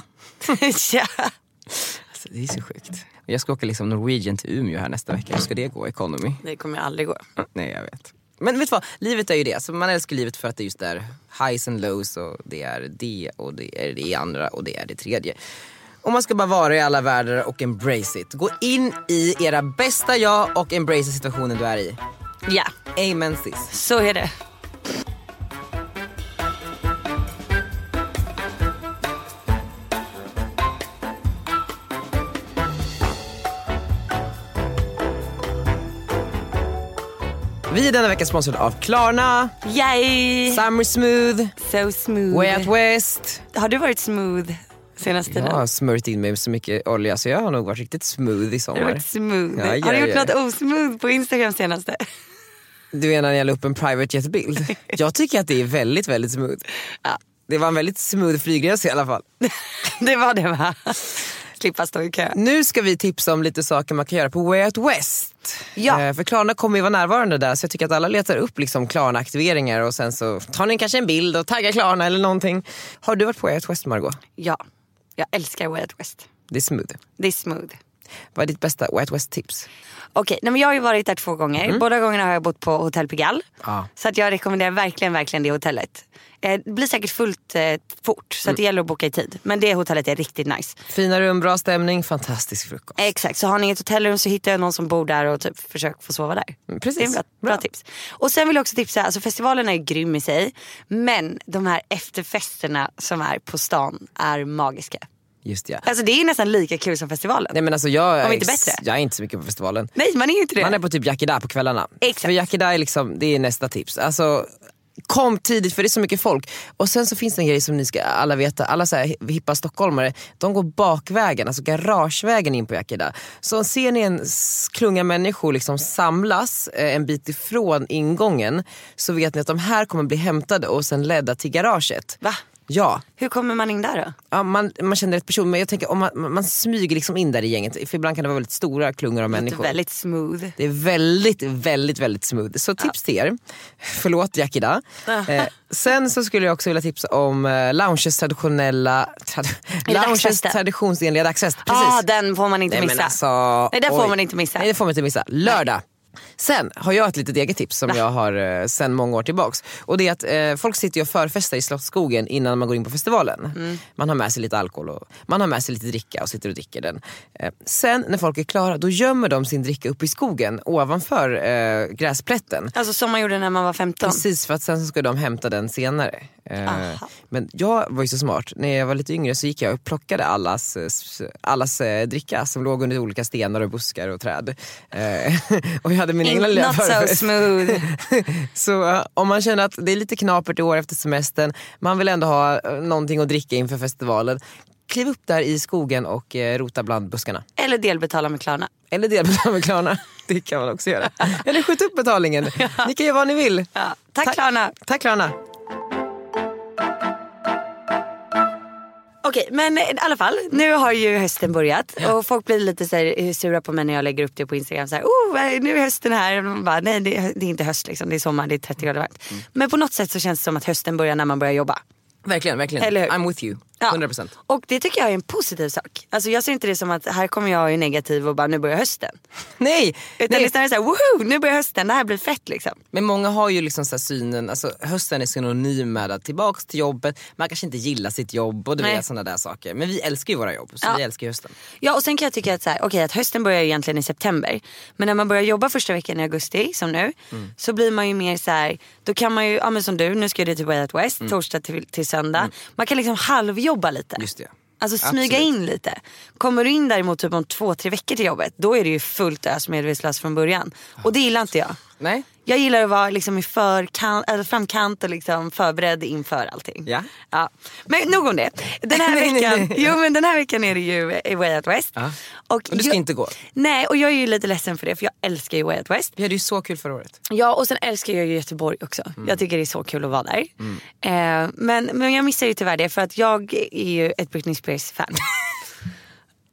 B: ja.
C: Alltså, det är så sjukt. Och Jag ska åka liksom Norwegian till Umeå här nästa vecka, hur ska det gå? Economy?
B: Det kommer jag aldrig gå.
C: Nej jag vet. Men vet du vad, livet är ju det, alltså, man älskar livet för att det är just där highs and lows och det är det och det är det andra och det är det tredje. Och man ska bara vara i alla världar och embrace it. Gå in i era bästa jag och embrace situationen du är i.
B: Ja,
C: Amen sis.
B: så är det.
C: Vi är denna vecka sponsrade av Klarna,
B: Yay!
C: Summer Smooth,
B: So smooth.
C: Way Out West.
B: Har du varit smooth senaste
C: Jag
B: tiden?
C: har smörjt in mig med så mycket olja så jag har nog varit riktigt smooth i
B: Har du
C: sommar.
B: varit smooth?
C: Ja,
B: Har du
C: ja,
B: gjort
C: ja.
B: något osmooth på Instagram senaste?
C: Du menar när jag la upp en private jet-bild? Jag tycker att det är väldigt, väldigt smooth. Det var en väldigt smooth flygresa i alla fall.
B: Det var det va? Slippa stå i kö.
C: Nu ska vi tipsa om lite saker man kan göra på Way Out West.
B: Ja.
C: Eh, För Klarna kommer ju vara närvarande där så jag tycker att alla letar upp liksom Klarna-aktiveringar och sen så tar ni kanske en bild och taggar Klarna eller någonting. Har du varit på Way Out West Margot?
B: Ja, jag älskar Way Out West.
C: Det är smooth.
B: Det är smooth.
C: Vad är ditt bästa White West-tips?
B: Okej, nej men jag har ju varit där två gånger.
C: Mm.
B: Båda gångerna har jag bott på Hotel Pigalle.
C: Ah.
B: Så att jag rekommenderar verkligen, verkligen det hotellet. Eh, Det blir säkert fullt eh, fort så
C: Mm.
B: att det gäller att boka i tid. Men det hotellet är riktigt nice.
C: Fina rum, bra stämning, fantastisk frukost.
B: Exakt, så har ni ett hotellrum så hittar jag någon som bor där och typ försök få sova där.
C: Mm, precis.
B: Det är en bra, bra,
C: Bra.
B: tips. Och sen vill jag också tipsa, alltså festivalen är ju grym i sig. Men de här efterfesterna som är på stan är magiska.
C: Just ja.
B: Alltså det är nästan lika kul som festivalen.
C: Nej men alltså jag,
B: Om
C: är
B: inte
C: ex-
B: bättre.
C: jag är inte så mycket på festivalen.
B: Nej man är ju inte det.
C: Man är på typ Yakida på kvällarna.
B: Exakt.
C: För Yakida är liksom, det är nästa tips. Alltså, kom tidigt för det är så mycket folk. Och sen så finns det en grej som ni ska alla veta, alla så här hippa stockholmare, de går bakvägen, alltså garagevägen in på Yakida. Så ser ni en s- klunga människor liksom samlas eh, en bit ifrån ingången så vet ni att de här kommer bli hämtade och sen ledda till garaget.
B: Va?
C: Ja,
B: Hur kommer man in där då?
C: ja man, man känner rätt person men jag tänker om man, man smyger liksom in där i gänget för ibland kan det vara väldigt stora klungor av
B: Det är
C: människor.
B: väldigt smooth.
C: Det är väldigt, väldigt, väldigt smooth. Så tips till er. Förlåt Yakida. Eh, sen så skulle jag också vilja tipsa om eh, lounges traditionella... Trad lounges
B: dagsfesten?
C: traditionsenliga dagsfest.
B: Ja, ah, den får man inte
C: Nej, men
B: missa.
C: alltså,
B: Nej, den får
C: oj.
B: man inte missa.
C: Nej, det får man inte missa. Lördag. Sen har jag ett litet eget tips som jag har eh, sen många år tillbaks. Och det är att eh, folk sitter ju och förfestar i Slottsskogen innan man går in på festivalen.
B: Mm.
C: Man har med sig lite alkohol och man har med sig lite dricka och sitter och dricker den. Eh, sen när folk är klara då gömmer de sin dricka uppe i skogen ovanför eh, gräsplätten.
B: Alltså som man gjorde när man var 15.
C: Precis för att sen så ska de hämta den senare. Eh,
B: Aha.
C: Men jag var ju så smart, när jag var lite yngre så gick jag och plockade allas, eh, s- allas eh, dricka som låg under olika stenar och buskar och träd. Eh, och jag hade min egna
B: In,
C: lilla
B: not so
C: förfest.
B: smooth.
C: Så eh, om man känner att det är lite knapert i år efter semestern, man vill ändå ha eh, någonting att dricka inför festivalen. Kliv upp där i skogen och eh, rota bland buskarna.
B: Eller delbetala med Klarna.
C: Eller dela med Klarna, det kan man också göra. Eller skjut upp betalningen. Ni kan göra vad ni vill.
B: Ja. Tack,
C: Tack.
B: Klarna.
C: Tack Klarna.
B: Okej men i alla fall, nu har ju hösten börjat och folk blir lite så här, eh, sura på mig när jag lägger upp det på Instagram. Så här, oh, eh, nu är hösten här. Och man bara, Nej det är, det är inte höst liksom, det är sommar, det är 30 grader varmt.
C: Mm.
B: Men på något sätt så känns det som att hösten börjar när man börjar jobba.
C: Verkligen, verkligen.
B: Eller hur?
C: I'm with you.
B: Ja.
C: 100%.
B: Och det tycker jag är en positiv sak. Alltså jag ser inte det som att här kommer jag och är negativ och bara nu börjar hösten.
C: Nej,
B: Utan
C: nej.
B: det är snarare såhär, woho nu börjar hösten, det här blir fett liksom.
C: men många har ju liksom så här synen, alltså hösten är synonym med att tillbaks till jobbet, man kanske inte gillar sitt jobb och du
B: Nej.
C: vet sådana där saker. Men vi älskar ju våra jobb, så
B: Ja.
C: vi älskar ju hösten.
B: Ja och sen kan jag tycka att, så här, okej, att hösten börjar ju egentligen i september. Men när man börjar jobba första veckan i augusti som nu.
C: Mm.
B: Så blir man ju mer så här, då kan man ju, ja men som du, nu ska du till Way Out
C: Mm.
B: West torsdag till, till söndag. Man kan liksom halvjobba lite.
C: Just det.
B: Alltså smyga
C: Absolut.
B: in lite. Kommer du in däremot typ om två, tre veckor till jobbet. Då är det ju fullt ös medvetslös från början. Och det gillar inte jag.
C: Nej.
B: Jag gillar att vara liksom i förkant, eller framkant och liksom förberedd inför allting.
C: Ja.
B: Ja. Men nog om det. Den här,
C: Nej, nej,
B: veckan,
C: nej.
B: jo, men den här veckan är det ju eh, Way Out West.
C: Ja. Och du ska
B: jag,
C: inte gå.
B: Nej, och jag är ju lite ledsen för det för jag älskar ju Way Out West.
C: Vi hade ju så kul förra året.
B: Ja, och sen älskar jag ju Göteborg också. Jag tycker det är så kul att vara där. Eh, men, men jag missar ju tyvärr det för att jag är ju ett Britney Spears-fan.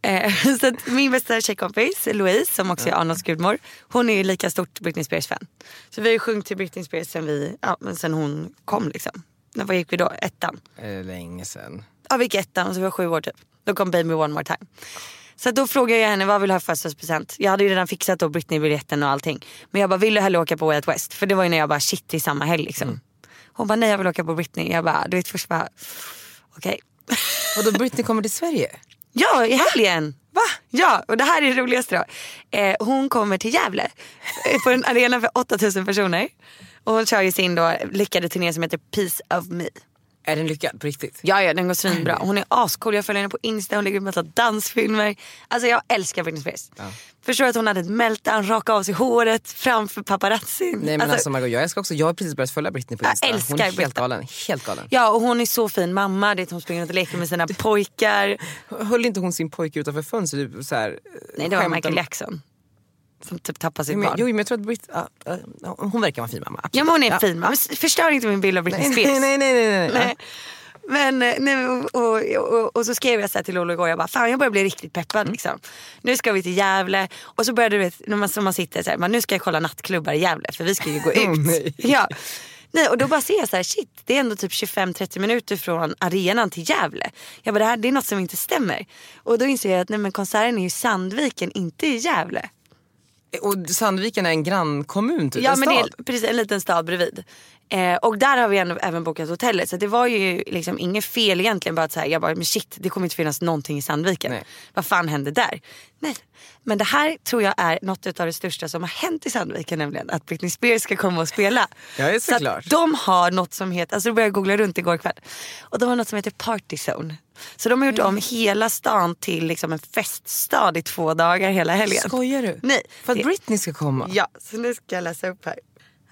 B: Eh, så att min bästa tjejkompis Louise som också är Arnolds gudmor. Hon är ju lika stort Britney Spears fan. Så vi har ju sjungit till Britney Spears sen, vi, ja, men sen hon kom liksom. När vad gick vi då? Ettan?
C: Eh, Länge sen.
B: Ja vi gick ettan, så vi var sju år typ. Då kom Baby One More Time. Så att då frågade jag henne vad vill du ha i födelsedagspresent? Jag hade ju redan fixat då Britney-biljetten och allting. Men jag bara vill du hellre åka på Way Out West? För det var ju när jag bara shit det är samma helg liksom. Hon bara nej jag vill åka på Britney. Jag bara du vet först bara okej.
C: Och då Britney kommer till Sverige?
B: Ja, i helgen! Va? Ja, och det här är det roligaste då. Eh, hon kommer till Gävle eh, på en arena för 8000 personer. Och hon kör ju sin då lyckade turné som heter Peace of Me.
C: Är den lyckad på riktigt?
B: Ja, ja den går svinbra. Hon är ascool, jag följer henne på Insta, hon lägger upp massa dansfilmer. Alltså jag älskar Britney Spears. Förstår att hon hade ett meltdown, raka av sig håret framför paparazzin.
C: Nej men alltså, Margot jag älskar också, jag har precis börjat följa Britney på
B: Jag
C: Insta.
B: älskar
C: Hon är helt
B: Britney.
C: galen. Helt galen.
B: Ja och hon är så fin mamma, det är att hon springer runt och leker med sina pojkar.
C: Höll inte hon sin pojke utanför fönstret? typ Så här,
B: Nej det var
C: skämtar-
B: Michael Jackson. Som typ tappar sitt
C: Jo, men-
B: barn.
C: Jo men jag tror att Brit, ja, ja, hon verkar vara en fin mamma. absolut.
B: Ja men hon är fin mamma. Förstör inte min bild av Britney Spears.
C: Nej, nej, nej, nej, nej.
B: Nej. Men, eh, nej, men, och, och, och, och så skrev jag så här till Lollo igår, jag bara fan jag börjar bli riktigt peppad
C: Mm.
B: liksom. Nu ska vi till Gävle och så började du vet, när man, som man sitter så här, man, nu ska jag kolla nattklubbar i Gävle för vi ska ju gå ut.
C: nej.
B: ja. Nej, och då bara ser jag så här, shit det är ändå typ 25-30 minuter från arenan till Gävle. Jag bara det här det är något som inte stämmer. Och då inser jag att nej, men konserten är i Sandviken, inte i Gävle.
C: Och Sandviken är en grannkommun typ,
B: Ja
C: en
B: men
C: stad.
B: det är precis en liten stad bredvid. Eh, och där har vi ändå, även bokat hotellet. Så det var ju liksom inget fel egentligen. Bara att så här, jag bara, men shit det kommer inte finnas någonting i Sandviken.
C: Nej.
B: Vad fan hände där? Nej. Men det här tror jag är något av det största som har hänt i Sandviken nämligen. Att Britney Spears ska komma och spela.
C: Ja, det är
B: så
C: såklart.
B: att de har något som heter, alltså då började jag googla runt igår kväll. Och de har något som heter Party Zone. Så de har gjort
C: Mm.
B: om hela stan till liksom en feststad i två dagar hela helgen.
C: Skojar du?
B: Nej.
C: För att
B: det-
C: Britney ska komma?
B: Ja, så nu ska jag läsa upp här.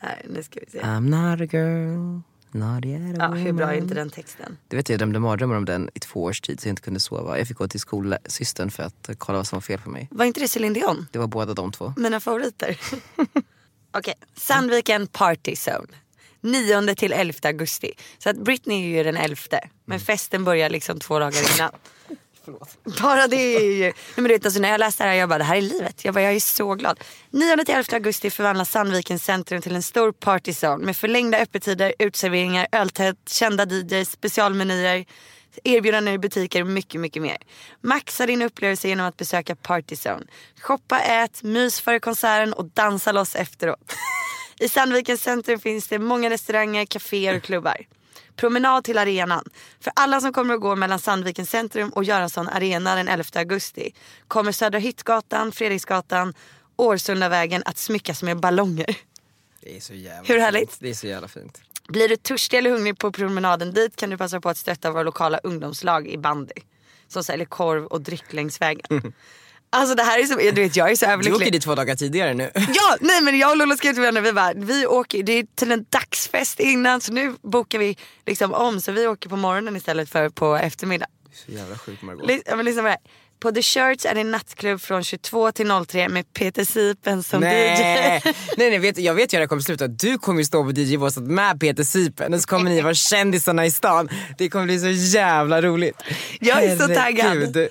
B: Här, nu ska vi se.
C: I'm not a girl, not yet a
B: Ja, hur bra är
C: woman.
B: inte den texten?
C: Du vet jag drömde mardrömmar om den i två års tid så jag inte kunde sova. Jag fick gå till skolsystern för att kolla vad som var fel på mig.
B: Var inte det Céline Dion?
C: Det var båda de två.
B: Mina favoriter. Okej, Sandviken Party Zone. 9 till 11 augusti. Så att Britney är ju den 11. Men festen börjar liksom två dagar innan. Bara det är ju... Nej, men du vet, alltså, när jag läste det här jag bara det här är livet. Jag, bara, jag är så glad. 9 till 11 augusti förvandlas Sandvikens centrum till en stor partyzone med förlängda öppettider, utserveringar, öltält, kända DJs, specialmenyer, erbjudanden i butiker och mycket, mycket mer. Maxa din upplevelse genom att besöka partyzone. Shoppa, ät, mys före konserten och dansa loss efteråt. I Sandvikens centrum finns det många restauranger, kaféer och klubbar. Promenad till arenan. För alla som kommer att gå mellan Sandvikens centrum och Göransson arena den 11 augusti kommer Södra Hyttgatan, Fredriksgatan, Årsundavägen att smyckas med ballonger.
C: Det är så jävla
B: Hur härligt?
C: Det är så jävla fint.
B: Blir du törstig eller hungrig på promenaden dit kan du passa på att stötta våra lokala ungdomslag i bandy. Som säljer korv och dryck längs vägen. Alltså det här är så, du vet jag är så
C: Mm. Du åker
B: överlycklig.
C: dit två dagar tidigare nu.
B: Ja, nej men jag och Lola skrev till varandra, vi bara, vi åker, det är till en dagsfest innan så nu bokar vi liksom om så vi åker på morgonen istället för på eftermiddag.
C: Så jävla sjuk Margot.
B: Lys- ja, men lyssna på det här. På The Church är det en nattklubb från 22 till 03 med Peter Sipen som
C: Nej,
B: DJ.
C: nej, nej vet, jag vet ju när det kommer sluta. Du kommer ju stå på DJ-båset med Peter Sipen och så kommer ni vara kändisarna i stan. Det kommer bli så jävla roligt.
B: Jag är så taggad.
C: Herregud.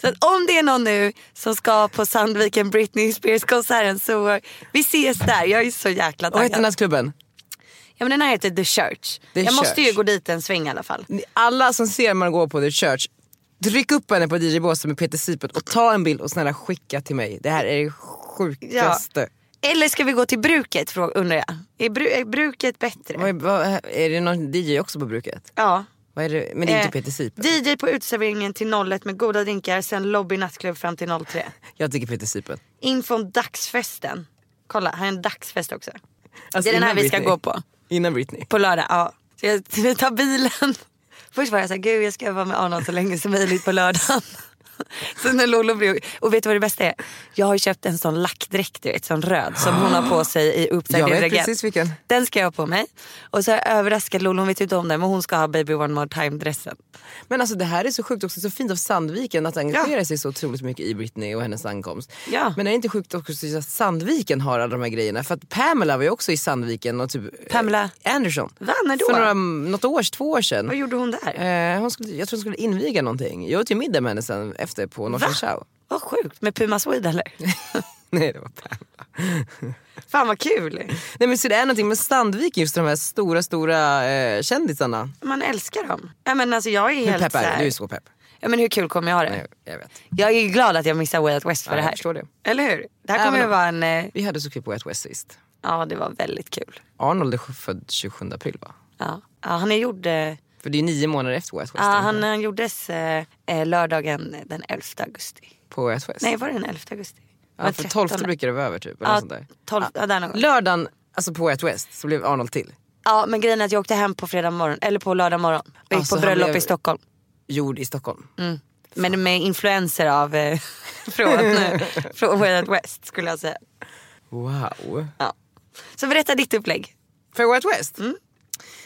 B: Så att om det är någon nu som ska på Sandviken Britney Spears-konserten så eh, vi ses där. Jag är så jäkla
C: Vad heter
B: taggad.
C: nattklubben?
B: Ja, men den här heter The Church.
C: The
B: jag måste ju
C: Church.
B: gå dit en sväng i alla fall.
C: Ni- Alla som ser Margot på The Church, tryck upp henne på DJ-båset med Peter Sipen och ta en bild och snälla skicka till mig. Det här är det sjukaste.
B: Eller ska vi gå till bruket frå- undrar jag. Är, bru- är bruket bättre?
C: Vad är, vad, är det någon DJ också på bruket?
B: Ja.
C: Vad är det? Men det är inte
B: Eh,
C: Peter Sipen.
B: DJ på uteserveringen till 01 med goda drinkar, sen lobby nattklubb fram till 03.
C: Jag tycker Peter Sipen.
B: Infon dagsfesten. Kolla, här är en dagsfest också.
C: Alltså,
B: det är den här
C: innan
B: vi ska
C: Britney.
B: gå på.
C: Innan Britney.
B: På lördag, ja. Så jag vi tar bilen. Först var jag såhär, gud jag ska vara med Arnold så länge som möjligt på lördagen. Sen när Lolo blev, och vet du vad det bästa är? Jag har köpt en sån lackdräkt, du vet, sån röd som hon har på sig i
C: Jag
B: uppsagd
C: vet
B: regent.
C: precis vilken.
B: Den ska jag ha på mig. Och så har jag överraskat Lolo, hon vet ju inte om det men hon ska ha baby one more time dressen.
C: Men alltså det här är så sjukt också, så fint av Sandviken att engagera sig så otroligt mycket i Britney och hennes ankomst.
B: Ja.
C: Men är det inte sjukt också att Sandviken har alla de här grejerna? För att Pamela var ju också i Sandviken och typ...
B: Pamela?
C: eh, Anderson.
B: Va, när då?
C: För några, något år, två år sedan.
B: Vad gjorde hon där?
C: Eh, hon skulle, jag tror hon skulle inviga någonting. Jag åt ju middag med henne sen efter på Norsen Show.
B: Vad sjukt, med Puma Swede eller?
C: Nej det var Pamela.
B: Fan vad kul.
C: Nej men så det är någonting med Sandviken, just de här stora stora eh, kändisarna.
B: Man älskar dem. Ja, men alltså, jag är
C: Hur
B: helt
C: pepp
B: så
C: är du?
B: här-
C: Du är så pepp.
B: Ja, men hur kul kommer jag ha det?
C: Nej, jag vet.
B: Jag är ju glad att jag missade Way Out West för
C: Ja,
B: det
C: jag
B: här.
C: förstår det.
B: Eller hur? Det här kommer
C: Även
B: ju
C: om-
B: vara en... eh,
C: Vi hade så kul på Wet West sist.
B: Ja det var väldigt kul.
C: Arnold är född 27 april va?
B: Ja. Ja, han är gjord... eh,
C: För det är nio månader efter West West.
B: Ja, Ah, han, han gjordes eh, eh, lördagen den 11 augusti.
C: På West West.
B: Nej var det den 11 augusti?
C: ja, för 12 brukar det vara över typ. Eller
B: ja,
C: något sånt där.
B: 12, ja, där någon gång.
C: Lördagen, alltså på West West, så blev Arnold till.
B: ja men grejen är att jag åkte hem på fredag morgon, eller på lördag morgon. Och gick
C: Alltså, han
B: på bröllop
C: blev-
B: i Stockholm.
C: Gjord i Stockholm.
B: Mm. Men med influenser av eh, från, eh, från Way Out West skulle jag säga.
C: Wow.
B: Ja. Så berätta ditt upplägg.
C: För White West?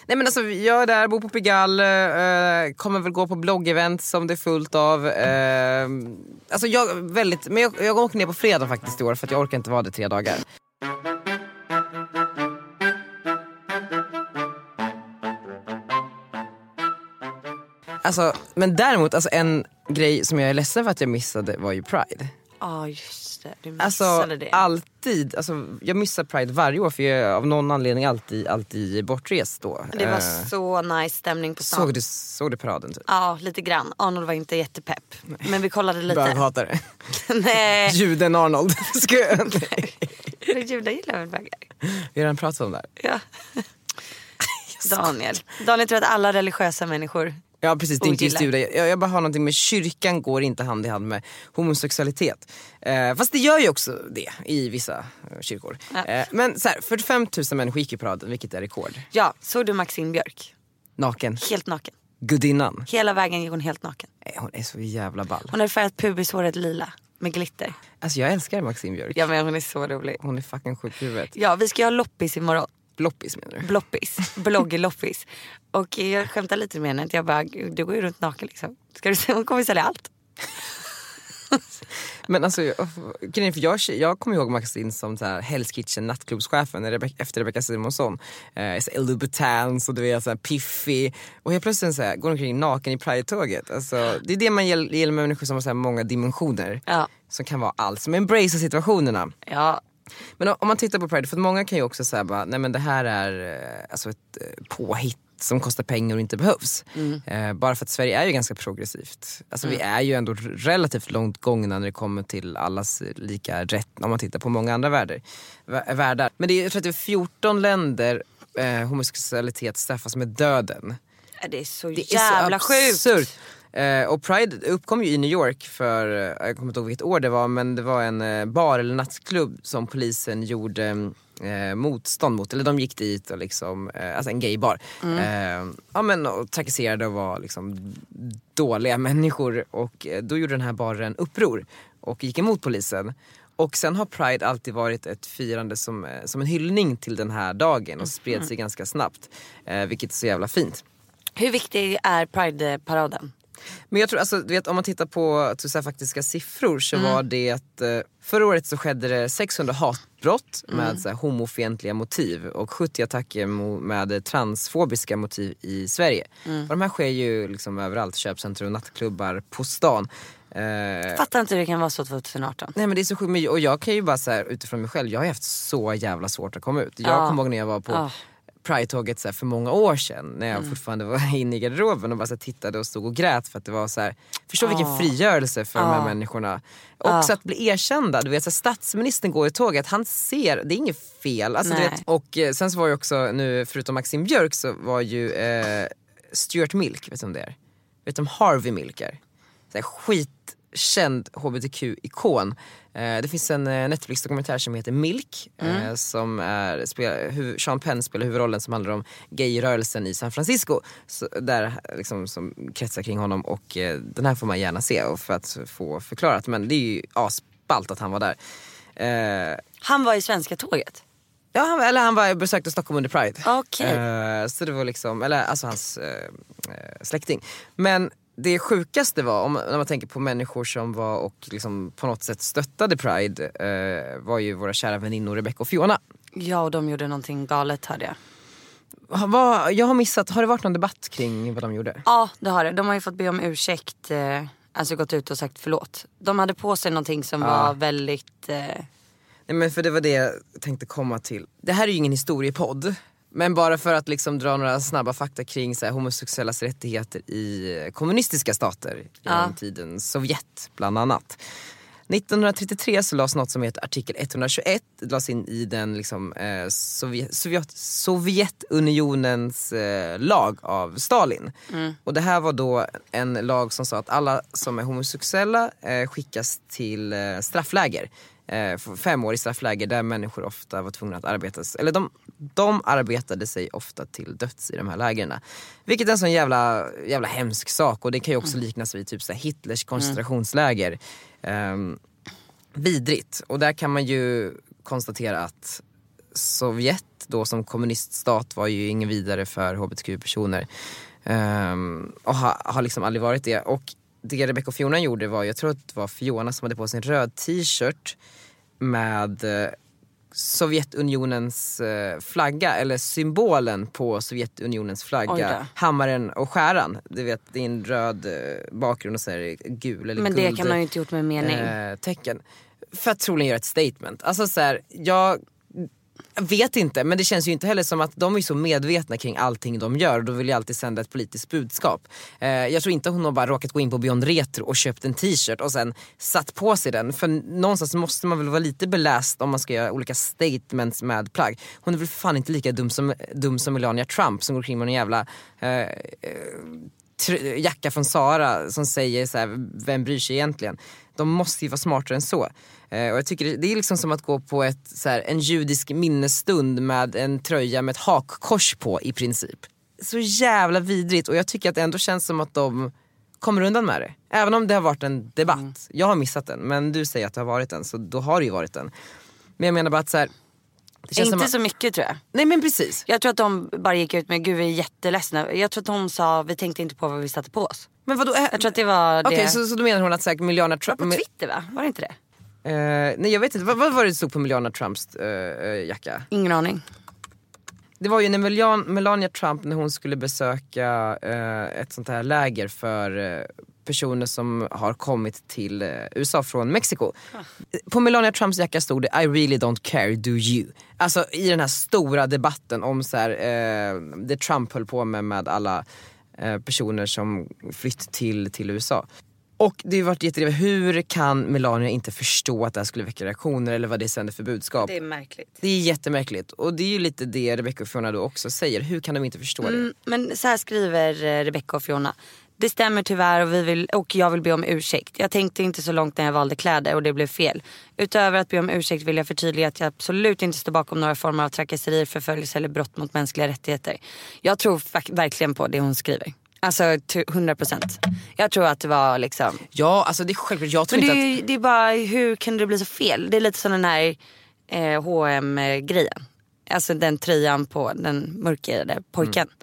C: Nej men alltså jag är där, bor på Pigalle, eh, kommer väl gå på bloggevent som det är fullt av. Eh, alltså jag, väldigt, men jag, jag åker ner på fredag faktiskt i år för att jag orkar inte vara det tre dagar. Alltså, men däremot alltså en grej som jag är ledsen för att jag missade var ju Pride.
B: Ja just det, du missade
C: Alltså
B: det.
C: allt alltid, alltså, jag missar Pride varje år för jag är av någon anledning alltid, alltid bortrest då.
B: Det var
C: Eh,
B: så nice stämning på stan.
C: såg, du, såg du paraden typ?
B: Ja, lite grann. Arnold var inte jättepepp. Men vi kollade lite.
C: Böghatare.
B: Nej,
C: Juden Arnold. Ska jag-
B: judar gillar väl bögar?
C: Vi har redan pratat om det här.
B: Ja. Daniel. Daniel tror att alla religiösa människor...
C: Ja precis, det är inte just
B: Ogillar.
C: judar. Jag, jag bara har någonting med kyrkan går inte hand i hand med homosexualitet. Eh, fast det gör ju också det i vissa eh, kyrkor.
B: Ja.
C: Eh, men så här, 45 000 människor gick i paraden vilket är rekord.
B: Ja, såg du Maxine Björk?
C: Naken.
B: Helt naken.
C: Gudinnan.
B: Hela vägen gick hon helt naken.
C: Eh, Hon är så jävla ball.
B: Hon hade färgat pubishåret lila med glitter.
C: Alltså jag älskar Maxine Björk.
B: Ja men hon är så rolig.
C: Hon är fucking sjuk i huvudet.
B: Ja, vi ska ju ha loppis imorgon.
C: Bloppis menar du?
B: Bloppis. Bloggeloppis. Och jag skämtar lite med henne. att Jag bara, du går ju runt naken liksom. Ska du se, hon kommer sälja allt.
C: Men alltså, jag- grejen är för jag, jag kommer ihåg Maxine som så här Hell's Kitchen nattklubbschefen när Rebecca, efter Rebecca Simonsson. Eh, så här Ellubutans och du vet såhär piffig. Och helt plötsligt så här, går hon omkring naken i Pride-tåget. Alltså, det är det man gäll- gäller med människor som har så här många dimensioner.
B: Ja.
C: Som kan vara allt, som embracear situationerna.
B: Ja,
C: Men om- om man tittar på Pride, för att många kan ju också säga bara, nej men det här är eh, alltså ett eh, påhitt som kostar pengar och inte behövs. Eh, bara för att Sverige är ju ganska progressivt. Alltså vi är ju ändå r- relativt långt gångna när det kommer till allas eh, lika rätt om man tittar på många andra världar. vä- eh, världar. Men det är, jag tror att det är 14 länder eh, homosexualitet straffas med döden.
B: det är så
C: Det
B: jävla
C: är så
B: sjukt.
C: absurt. Eh, och Pride uppkom ju i New York för, eh, jag kommer inte ihåg vilket år det var, men det var en eh, bar eller nattklubb som polisen gjorde eh, motstånd mot. Eller de gick dit och liksom, eh, alltså en gaybar.
B: Mm.
C: Eh, ja men och trakasserade och var liksom dåliga människor. Och eh, då gjorde den här baren uppror och gick emot polisen. Och sen har Pride alltid varit ett firande som, eh, som en hyllning till den här dagen och
B: Mm.
C: spred sig ganska snabbt. Eh, vilket är så jävla fint.
B: Hur viktig är Pride-paraden?
C: Men jag tror, alltså, du vet, om man tittar på typ, så här, faktiska siffror så var det att eh, förra året så skedde det 600 hatbrott med så här, homofientliga motiv och 70 attacker mo- med eh, transfobiska motiv i Sverige. Och de här sker ju liksom överallt, köpcentrum och nattklubbar på stan. Eh,
B: Fattar inte hur det kan vara så 2018.
C: Nej men det är så sjukt, Men- och jag kan ju bara så här, utifrån mig själv, jag har ju haft så jävla svårt att komma ut. Jag
B: Ja.
C: kommer ihåg när jag var på
B: Ja. Mm.
C: Pride-tåget så här, för många år sedan när jag fortfarande var inne i garderoben och bara så här, tittade och stod och grät för att det var så här, förstå vilken frigörelse för de här människorna. Och så att bli erkända, du vet så här, statsministern går i tåget, han ser, det är inget fel. Alltså, du
B: Nej.
C: vet, och eh, sen så var ju också nu, förutom Maxim Björk så var ju eh, Stuart Milk, vet du om det är? Vet du om Harvey Milk är? så här, skitkänd hbtq-ikon. Eh, det finns en eh, Netflix-dokumentär som heter Milk. Eh, som är, spel, hu, Sean Penn spelar huvudrollen som handlar om gayrörelsen i San Francisco. Så, där eh, liksom, som kretsar kring honom och eh, den här får man gärna se och för att få förklarat. Men det är ju asballt att han var där. Eh,
B: Han var i svenska tåget.
C: Ja, han, eller han var besökte Stockholm under Pride.
B: Okej.
C: Eh, så det var liksom, eller alltså hans eh, eh, släkting. Men det sjukaste var, om, när man tänker på människor som var och liksom på något sätt stöttade Pride, eh, var ju våra kära väninnor Rebecca och Fiona.
B: Ja, och de gjorde någonting galet hörde jag.
C: Ha- vad- jag har missat, har det varit någon debatt kring vad de gjorde?
B: Ja, det har det. De har ju fått be om ursäkt. Eh, alltså gått ut och sagt förlåt. De hade på sig någonting som var väldigt... Eh,
C: Nej men för det var det jag tänkte komma till. Det här är ju ingen historiepodd. Men bara för att liksom dra några snabba fakta kring så här, homosexuellas rättigheter i eh, kommunistiska stater. Genom tiden Sovjet bland annat. 1933 så lades något som heter artikel 121. Det lades in i den liksom, eh, Sovjet, Sovjet, Sovjetunionens eh, lag av Stalin. Och det här var då en lag som sa att alla som är homosexuella eh, skickas till eh, straffläger eh, f- fem år i straffläger där människor ofta var tvungna att arbeta, s- eller de, de arbetade sig ofta till döds i de här lägren. Vilket är en sån jävla, jävla hemsk sak och det kan ju också liknas vid typ så här Hitlers koncentrationsläger. Ehm, vidrigt och där kan man ju konstatera att Sovjet då som kommuniststat var ju ingen vidare för hbtq-personer. Ehm, och ha, har liksom aldrig varit det. Och det Rebecca och Fiona gjorde var, jag tror att det var Fiona som hade på sig en röd t-shirt med eh, Sovjetunionens eh, flagga, eller symbolen på Sovjetunionens
B: Oj
C: flagga.
B: då.
C: Hammaren och skäran. Du vet, det är en röd eh, bakgrund och så är det gul eller
B: men det
C: guld
B: kan man ju inte gjort med mening.
C: eh, tecken. för att troligen göra ett statement. Alltså så här, jag vet inte men det känns ju inte heller som att de är så medvetna kring allting de gör och de vill ju alltid sända ett politiskt budskap. Eh, jag tror inte hon har bara råkat gå in på Beyond Retro och köpt en t-shirt och sen satt på sig den. För någonstans måste man väl vara lite beläst om man ska göra olika statements med plagg. Hon är väl för fan inte lika dum som, dum som Melania Trump som går kring med en jävla eh, tr- jacka från Sara som säger så här, vem bryr sig egentligen? De måste ju vara smartare än så. Eh, och jag tycker det, det är liksom som att gå på ett, så här, en judisk minnesstund med en tröja med ett hakkors på i princip. Så jävla vidrigt och jag tycker att det ändå känns som att de kommer undan med det. Även om det har varit en debatt.
B: Mm.
C: Jag har missat den men du säger att det har varit en så då har det ju varit en. Men jag menar bara att så här, det känns som
B: Inte
C: att,
B: så mycket tror jag.
C: Nej men precis.
B: Jag tror att de bara gick ut med gud vi är jätteledsna. Jag tror att de sa vi tänkte inte på vad vi satte på oss.
C: Men vadå? eh,
B: Jag tror att det var det.
C: Okej så, så då menar hon att säkert Milana Trump...
B: På Twitter va? Var det inte det?
C: Eh, nej jag vet inte, vad, vad var det stod på Melania Trumps eh, eh, jacka?
B: Ingen aning.
C: Det var ju när Melian, Melania Trump när hon skulle besöka eh, ett sånt här läger för eh, personer som har kommit till eh, USA från Mexiko. På Melania Trumps jacka stod det I really don't care, do you? Alltså i den här stora debatten om så här, eh, det Trump höll på med med alla eh, personer som flytt till, till USA. Och det har ju varit jättedrivet, hur kan Melania inte förstå att det här skulle väcka reaktioner eller vad det sänder för budskap?
B: Det är märkligt.
C: Det är jättemärkligt och det är ju lite det Rebecca och Fiona då också säger. Hur kan de inte förstå det?
B: Mm, men så här skriver eh, Rebecca och Fiona. Det stämmer tyvärr och, vi vill, och jag vill be om ursäkt. Jag tänkte inte så långt när jag valde kläder och det blev fel. Utöver att be om ursäkt vill jag förtydliga att jag absolut inte står bakom några former av trakasserier, förföljelse eller brott mot mänskliga rättigheter. Jag tror fak- verkligen på det hon skriver. Alltså t- 100%. Jag tror att det var liksom...
C: Ja, alltså det är självklart. Jag tror
B: Men det,
C: inte
B: är
C: att...
B: ju- det är bara hur kunde det bli så fel? Det är lite som den här eh, hm grejen Alltså den tröjan på den mörkhyade pojken.
C: Mm.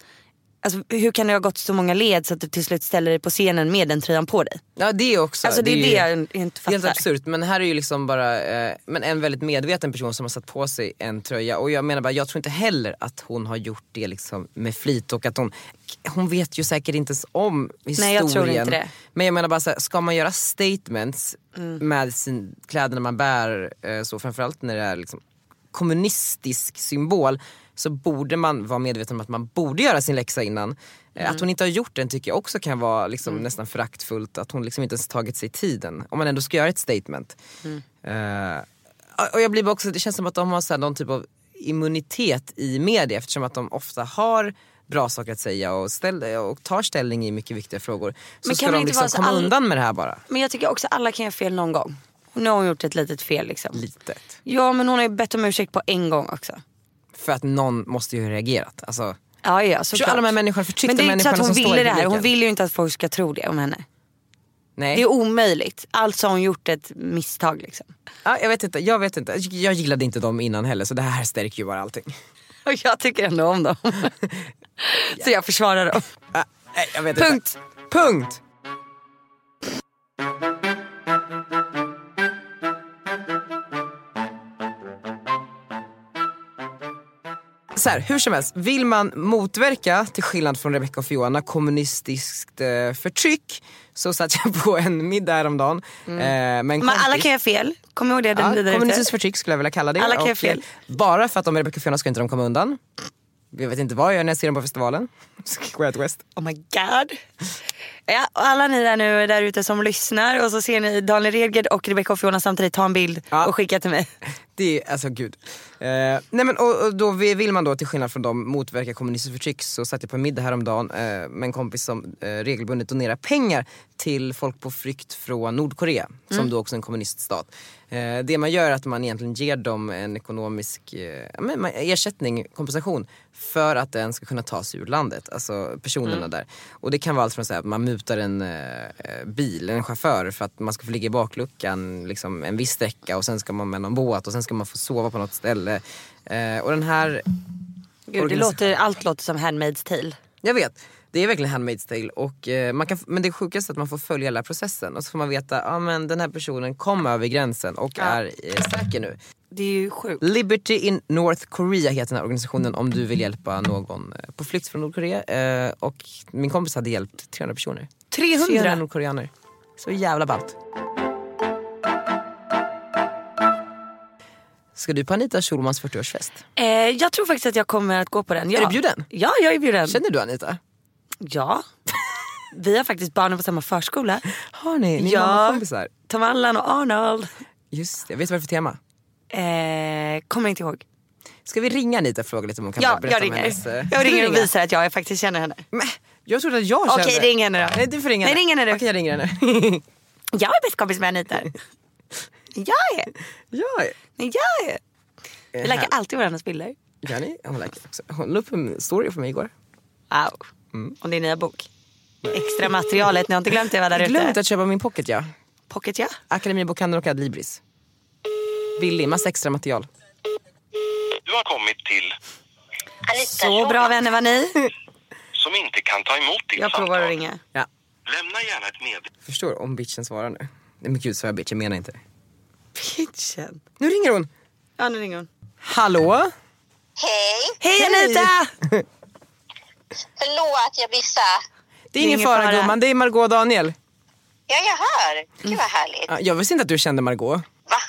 B: Alltså, hur kan det ha gått så många led så att du till slut ställer dig på scenen med den tröjan på dig?
C: Ja, det är också.
B: Alltså det, är det
C: ju-
B: jag inte fattar.
C: Helt absurt men här är ju liksom bara eh, men en väldigt medveten person som har satt på sig en tröja och jag menar bara jag tror inte heller att hon har gjort det liksom med flit och att hon, hon vet ju säkert inte ens om historien.
B: Nej, jag tror inte det.
C: Men jag menar bara så här, ska man göra statements med sin, kläderna man bär eh, så framförallt när det är liksom kommunistisk symbol så borde man vara medveten om att man borde göra sin läxa innan. Eh, Att hon inte har gjort den tycker jag också kan vara liksom nästan föraktfullt. Att hon liksom inte ens tagit sig tiden. Om man ändå ska göra ett statement. Eh, och jag blir bara också, det känns som att de har så här någon typ av immunitet i media eftersom att de ofta har bra saker att säga och, ställ, och tar ställning i mycket viktiga frågor. Så
B: Men
C: ska
B: kan det
C: de
B: inte
C: liksom
B: vara så
C: komma
B: all-
C: undan med det här bara.
B: Men jag tycker också alla kan göra fel någon gång. Och nu har hon gjort ett litet fel liksom.
C: Litet.
B: Ja men hon har ju bett om ursäkt på en gång också.
C: För att någon måste ju ha reagerat. Alltså,
B: Ja ja såklart.
C: alla de här människorna, förtryckta
B: Men det är ju inte så att
C: människorna
B: hon
C: som står
B: ville
C: i
B: det här. Hon
C: publiken.
B: vill ju inte att folk ska tro det om henne.
C: nej.
B: Det är omöjligt. Alltså har hon gjort ett misstag liksom.
C: Ja, jag vet inte, jag vet inte. Jag gillade inte dem innan heller så det här stärker ju bara allting.
B: Och jag tycker ändå om dem. Så jag försvarar dem.
C: Ah, nej, jag vet inte.
B: Punkt.
C: Punkt! Så här, hur som helst, vill man motverka, till skillnad från Rebecca och Fiona, kommunistiskt eh, förtryck så satt jag på en middag häromdagen. Eh, men
B: Mm. Men alla kan göra fel. Kom ihåg det. Den
C: Ja,
B: vidare
C: kommunistiskt
B: inte.
C: förtryck skulle jag vilja kalla det.
B: Alla kan
C: Och,
B: göra fel.
C: eh, Bara för att de är Rebecca och Fiona ska inte de komma undan. Jag vet inte vad jag gör när jag ser dem på festivalen. Square West.
B: Oh my god. Ja, och alla ni där nu där ute som lyssnar och så ser ni Daniel Redgert och Rebecca och Fiona samtidigt ta en bild
C: Ja.
B: och skicka till mig.
C: Det är, alltså gud. Eh, nej men och, och då vi- vill man då till skillnad från dem motverka kommunistiskt förtryck så satt jag på en middag häromdagen eh, med en kompis som eh, regelbundet donerar pengar till folk på flykt från Nordkorea som då också är en kommuniststat. Eh, det man gör är att man egentligen ger dem en ekonomisk eh, ja, men, man- ersättning, kompensation för att den ska kunna tas ur landet, alltså personerna där. Och det kan vara allt från så här, att man mutar en eh, bil, en chaufför för att man ska få ligga i bakluckan liksom, en viss sträcka och sen ska man med någon båt och sen ska man få sova på något ställe. Eh, och den här
B: Gud, det
C: Organisation.
B: låter, allt låter som Handmaid's tale.
C: jag vet, det är verkligen Handmaid's tale. Och, eh, man kan, men det sjukaste är att man får följa hela processen och så får man veta att ah, men den här personen kom över gränsen och är eh, säker nu.
B: Det är ju sjukt.
C: Liberty in North Korea heter den här organisationen om du vill hjälpa någon eh, på flykt från Nordkorea. Eh, och min kompis hade hjälpt 300 personer. 300 nordkoreaner. Så jävla ballt. Ska du på Anita Schulmans 40-årsfest?
B: Eh, jag tror faktiskt att jag kommer att gå på den. Ja.
C: Är du bjuden?
B: Ja, jag är bjuden.
C: Känner du Anita?
B: Ja. Vi har faktiskt barnen på samma förskola.
C: Har ni? Ni är
B: ja.
C: mammakompisar?
B: Tom Allan och Arnold.
C: Just det, vet du vad det är för tema?
B: Eh, kommer inte ihåg.
C: Ska vi ringa Anita och fråga lite om hon kan
B: Ja,
C: berätta
B: jag
C: om
B: ringer.
C: hennes... eh,
B: Jag
C: Ska du
B: ringer och
C: ringa?
B: visar att jag faktiskt känner henne.
C: Men, jag trodde att jag
B: Okej,
C: kände...
B: ring henne då.
C: Nej, du får ringa
B: Nej,
C: henne.
B: ring henne du.
C: Okej, jag ringer henne.
B: Jag är bäst kompis med Anita. Jag är.
C: ja,
B: Nej, jag är. Vi
C: Eh,
B: likar
C: här-
B: alltid varandras bilder.
C: Gör ni? Oh Hon likar också. Hon la upp en story för mig igår.
B: Wow. Om Mm. din nya bok. Extra materialet, ni har inte glömt det va där
C: Jag glömde
B: ute?
C: att köpa min pocket, ja.
B: Pocket ja.
C: Akademibokhandeln och Adlibris. Billig, massa extra material.
D: Du har kommit till
B: Så bra vänner var ni.
D: som inte kan ta emot ditt
B: Jag provar att ringa.
C: Ja,
D: Lämna gärna ett meddelande.
C: förstår om bitchen svarar nu. Nej men gud, sa jag bitch? Jag menar inte det.
B: Pitchen.
C: Nu ringer hon!
B: Ja nu ringer hon.
C: Hallå?
E: Hej!
B: Hej Anita!
E: Förlåt, jag missade.
C: Det är ingen fara gumman, det är Margot och Daniel.
E: Ja, jag hör. Gud vad härligt.
C: Ja, Jag visste inte att du kände Margot.
E: Va?
C: Ja,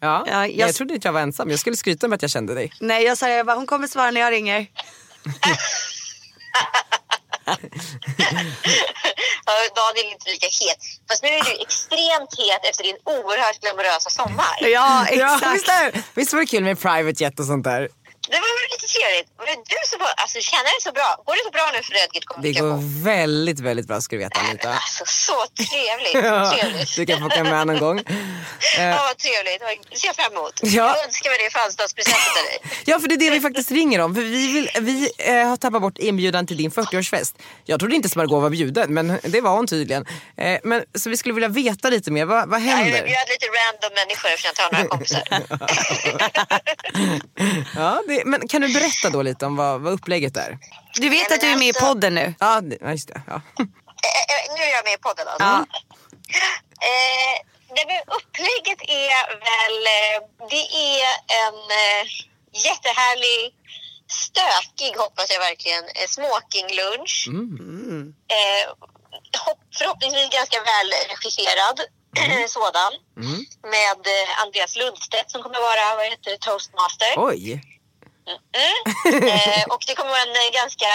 B: Ja,
C: jag...
B: jag-
C: jag trodde att jag var ensam. Jag skulle skryta med att jag kände dig.
B: Nej jag sa jag bara, hon kommer svara när jag ringer.
E: Ja, Daniel är inte lika het. Fast nu är du extremt het efter din oerhört glamorösa sommar.
B: Ja
C: visst,
B: exakt.
C: är, visst var det kul med private jet och sånt där?
E: Det var väl lite trevligt. Var det du som var... Alltså, känner det så bra? Går det så bra nu för Rödgit
C: Det
E: kommunikation?
C: går väldigt, väldigt bra ska du veta Anita.
E: Alltså, så trevligt.
C: Ja,
E: trevligt.
C: du kan få åka med en annan gång. Eh,
E: Ja, vad trevligt. Det ser jag fram emot.
C: Ja.
E: Jag önskar mig det i födelsedagspresent av dig.
C: Ja, för det är det vi faktiskt ringer om. För vi vill, vi eh, har tappat bort inbjudan till din 40-årsfest. Jag trodde inte att Margot var bjuden, men det var hon tydligen. Eh, men, så vi skulle vilja veta lite mer. Vad, vad
E: Ja, Jag
C: händer?
E: bjöd lite random människor eftersom jag inte har några kompisar.
C: Ja, det, men kan du berätta då lite om vad, vad upplägget är?
B: Du vet att du är med i podden nu.
C: Ja, det- ja, just det. Ja.
E: Eh, eh, nu är jag med i podden alltså.
B: Ja.
E: Eh, nej, men upplägget är väl... Eh, det är en eh, jättehärlig, stökig, hoppas jag verkligen, eh, smoking-lunch. Eh, hopp, förhoppningsvis ganska väl regisserad sådan. Med eh, Andreas Lundstedt som kommer vara vad heter det, toastmaster.
C: Oj!
E: Mm. Eh, och det kommer vara en eh, ganska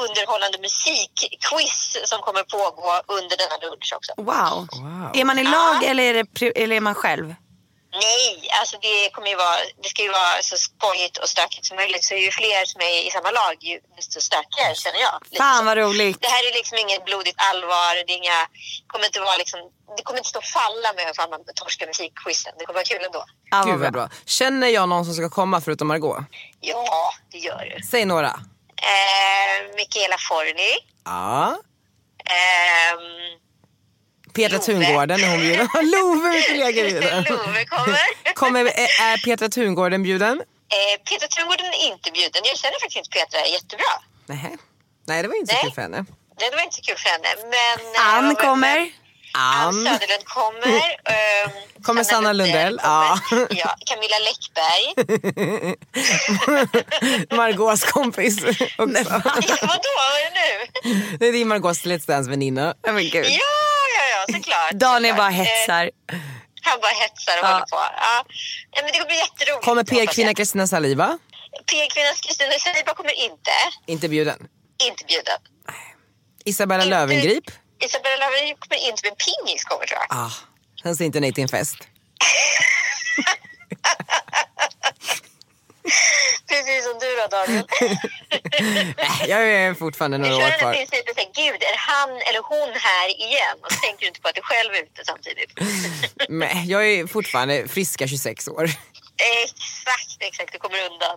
E: underhållande musikquiz som kommer pågå under denna lunch också.
B: Wow.
C: Wow.
B: Är man i lag eller är, det, pri- eller är man själv?
E: Nej, alltså det, kommer ju vara, det ska ju vara så skojigt och stökigt som möjligt. Så ju fler som är i samma lag, ju desto stökigare känner jag. Lite så.
B: Fan vad roligt.
E: Det här är liksom inget blodigt allvar. Det, är inga, kommer inte vara liksom, det kommer inte stå och falla med hur fan man torskar musikquizen. Det kommer vara kul ändå.
B: Ja,
C: Gud vad bra. Känner jag någon som ska komma förutom Margot?
E: Ja, det gör du.
C: Säg några.
E: Eh, Michaela Forni.
C: Ja.
E: Ehm,
C: Petra
E: Love.
C: Tungården är hon bjuden. Love, min kollega är bjuden.
E: Love kommer.
C: Kommer, är- är Petra Tungården bjuden?
E: Eh, Petra Tungården är inte bjuden. Jag känner faktiskt inte Petra jättebra.
C: Nej. Nej, det var ju inte så
E: Nej.
C: kul för henne.
E: Det var inte så kul för henne. Men, eh,
B: Ann
E: vad var-
B: kommer.
E: Ann
C: Ann.
E: Söderlund kommer. ehm,
C: Kommer Sanna Lundell, ja.
E: kommer. ja. Camilla Läckberg.
C: Margaux kompis också.
E: Ja, vadå, vad är det nu?
C: Det är din Margaux Let's Dance väninna.
B: Ja, men gud.
E: Ja, ja, ja, såklart.
B: Daniel
E: såklart.
B: bara
E: Eh,
B: hetsar.
E: han bara hetsar och
B: Ja.
E: håller på. Ja. Nej, men det kommer bli jätteroligt.
C: Kommer PR-kvinna
E: hoppas
C: Kristina Saliva?
E: jag. PR-kvinnan Kristina Saliba kommer inte.
C: Inte bjuden.
E: Inte bjuden.
C: Isabella
E: Inte-
C: Löwengrip?
E: Isabella Löwengrip kommer inte, men Pingis kommer tror jag.
C: Ah, hon säger inte nej till en fest.
E: Precis som du då, Daniel.
C: Nej, Jag är fortfarande några
E: Förstår
C: år
E: du när
C: kvar.
E: principen säger gud är han eller hon här igen? Och så tänker du inte på att du själv är ute samtidigt.
C: Men jag är fortfarande friska 26 år.
E: exakt, exakt. Du kommer undan.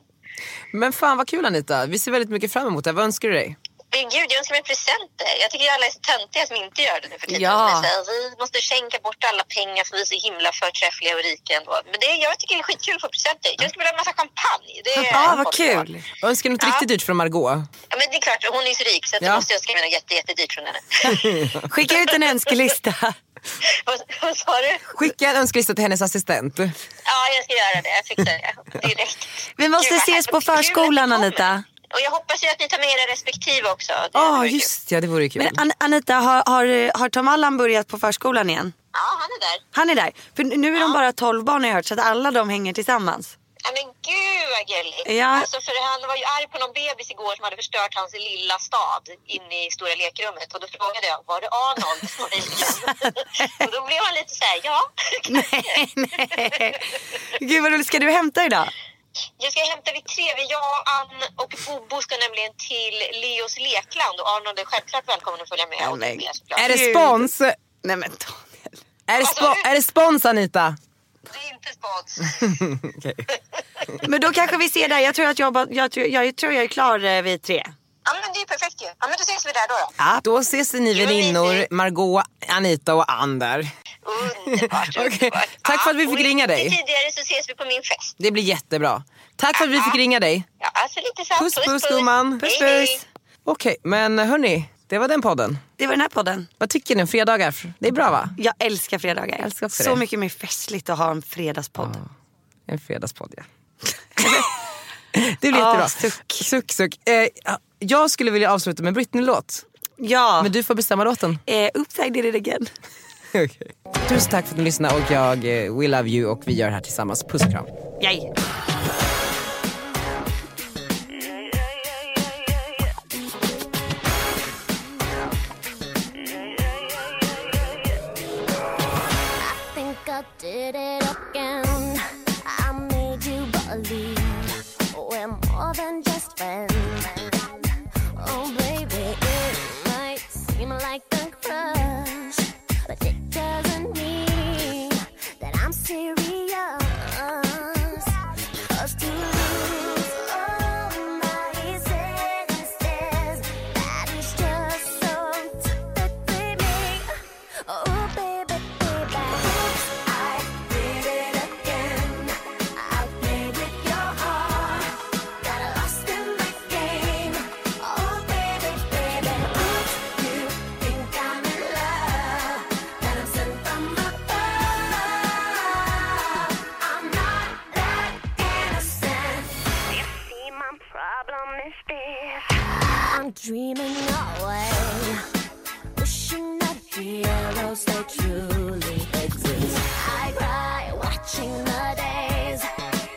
C: Men fan vad kul Anita, vi ser väldigt mycket fram emot det här. Vad önskar du dig?
E: Men gud, jag önskar mig presenter. Jag tycker alla är så töntiga som inte gör det nu för tiden.
B: Ja.
E: Som är så här, vi måste skänka bort alla pengar för vi är så himla förträffliga och rika ändå. Men det, jag tycker det är skitkul att få presenter. Jag skulle vilja ha en massa champagne. Det är
B: Ja, Ah, vad
E: folk
B: kul.
C: Önskar du något
E: Ja.
C: riktigt dyrt från Margot?
E: Ja, men det är klart, hon är ju så rik så att
C: Ja.
E: då måste jag skriva något jätte, jättedyrt från henne.
B: Skicka ut en önskelista.
E: vad, vad sa du?
C: Skicka en önskelista till hennes assistent.
E: Ja, jag ska göra det. Jag fixar det direkt.
B: Vi måste
E: Gud, vad
B: ses på
E: härligt. Kul att du
B: förskolan
E: kommer.
B: Anita.
E: Och jag hoppas ju att ni tar med era respektive också. Det hade
C: Ja,
E: varit kul.
C: just ja, det vore kul.
B: Men An- Anita, har, har, har Tom Allan börjat på förskolan igen?
E: Ja, han är där.
B: Han är där. För nu är de bara 12 barn har jag hört så att alla de hänger tillsammans.
E: Ja, men gud vad gulligt.
B: Ja.
E: Alltså, för han var ju arg på någon bebis igår som hade förstört hans lilla stad inne i stora lekrummet. Och då frågade jag, var det Arnold? och då blev han lite så här, ja.
B: Nej, nej. Gud vad roligt. Ska du hämta idag?
E: Jag ska hämta vid tre. Vi, Jag, Ann och Bobo ska nämligen till Leos lekland. Och Arnold är självklart välkommen att följa med.
B: Ja,
E: och
B: men-
E: mer såklart.
C: Är det
B: Gud.
C: spons?
B: Nej men Daniel.
C: Är det, spo-
E: Alltså,
C: är det spons Anita?
E: Det är inte spons.
B: Men då kanske vi ser där. Jag tror att jag, bara- jag, tror, jag tror jag är klar eh, vid tre.
E: ja, men det är ju perfekt ju. Ja, men då ses vi där då. då.
C: Då ses ni väninnor, Margot, Anita och Ann där.
E: Underbart,
C: Okej.
E: underbart.
C: Tack för att vi
E: Ja,
C: fick
E: och
C: ringa dig.
E: Lite tidigare så ses vi på min fest.
C: Det blir jättebra. Tack för att vi fick ringa dig.
E: Ja, alltså lite så här,
C: Puss puss gumman.
E: Hej, hej.
C: Okej, men hörni, det var den podden.
B: Det var den här podden.
C: Vad tycker ni om fredagar? Det är bra va?
B: Jag älskar fredagar. Jag
C: älskar också
B: Så
C: det.
B: mycket mer festligt att ha en fredagspodd.
C: En fredagspodd ja. det blir
B: Ah,
C: jättebra.
B: suck.
C: Suck, suck. Eh, jag skulle vilja avsluta med en Britney-låt.
B: Ja.
C: Men du får bestämma låten.
B: Eh, oops I did it again.
C: Tusen tack för att ni lyssnade och jag, eh, we love you och vi gör det här tillsammans. Puss och kram.
B: Yay.
F: think I did it again. I made you believe we're more than just friends. Oh, baby, it might seem like a crush, but it doesn't mean that I'm serious. 'Cause to lose all my senses, that is just so typically me. Oh, baby, baby. Oops, I did it again. I played with your heart. Got lost in my game. Oh, baby, baby. Oops, you think I'm in love. That I'm sent from above. I'm not that innocent. You see, my problem is this. I'm dreaming away wishing that heroes they truly exist. I cry watching the days.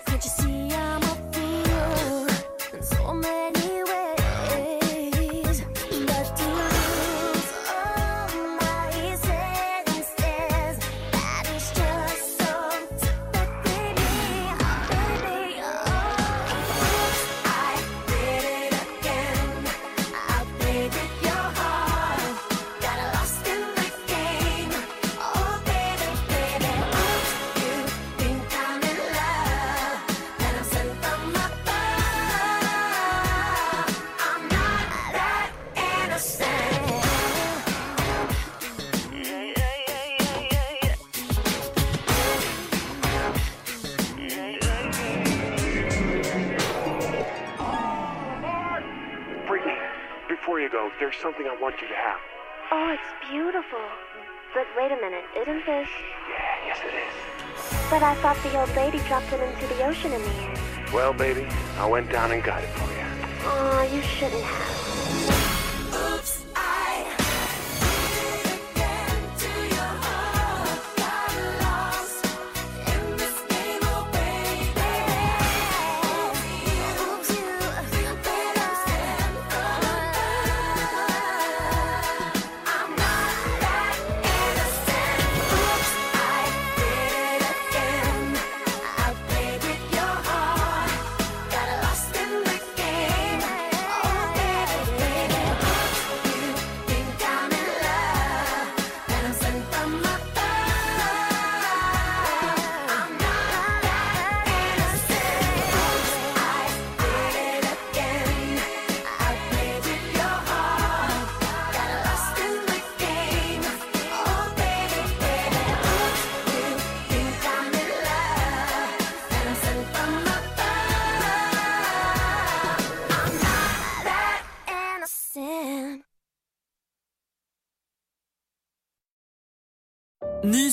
F: Can't you see I'm a fool in so many ways? But to lose all my senses, that is just so typically me. Baby, oh, I did it again. I played with your heart. Got lost in the game. Oh, baby, baby. Oops, you think I'm in love. Then I'm sent from above. I'm not that innocent.
G: Brittany, before you go, there's something I want you to have.
F: Oh, it's beautiful. But wait a minute, isn't this?
G: Yeah, yes it
F: But I thought the old lady dropped it into the ocean in the end.
G: is. Well, baby, I went down and got it for you.
F: Aw, you shouldn't have. Got lost in the game. Oh, baby, baby. You think I'm in love, and I'm sent from above. I'm not that innocent. I did it again. I played with your heart. Got lost in the game. Oh, baby, baby. You think I'm in love, and I'm sent from above. I'm not that innocent.
H: Ny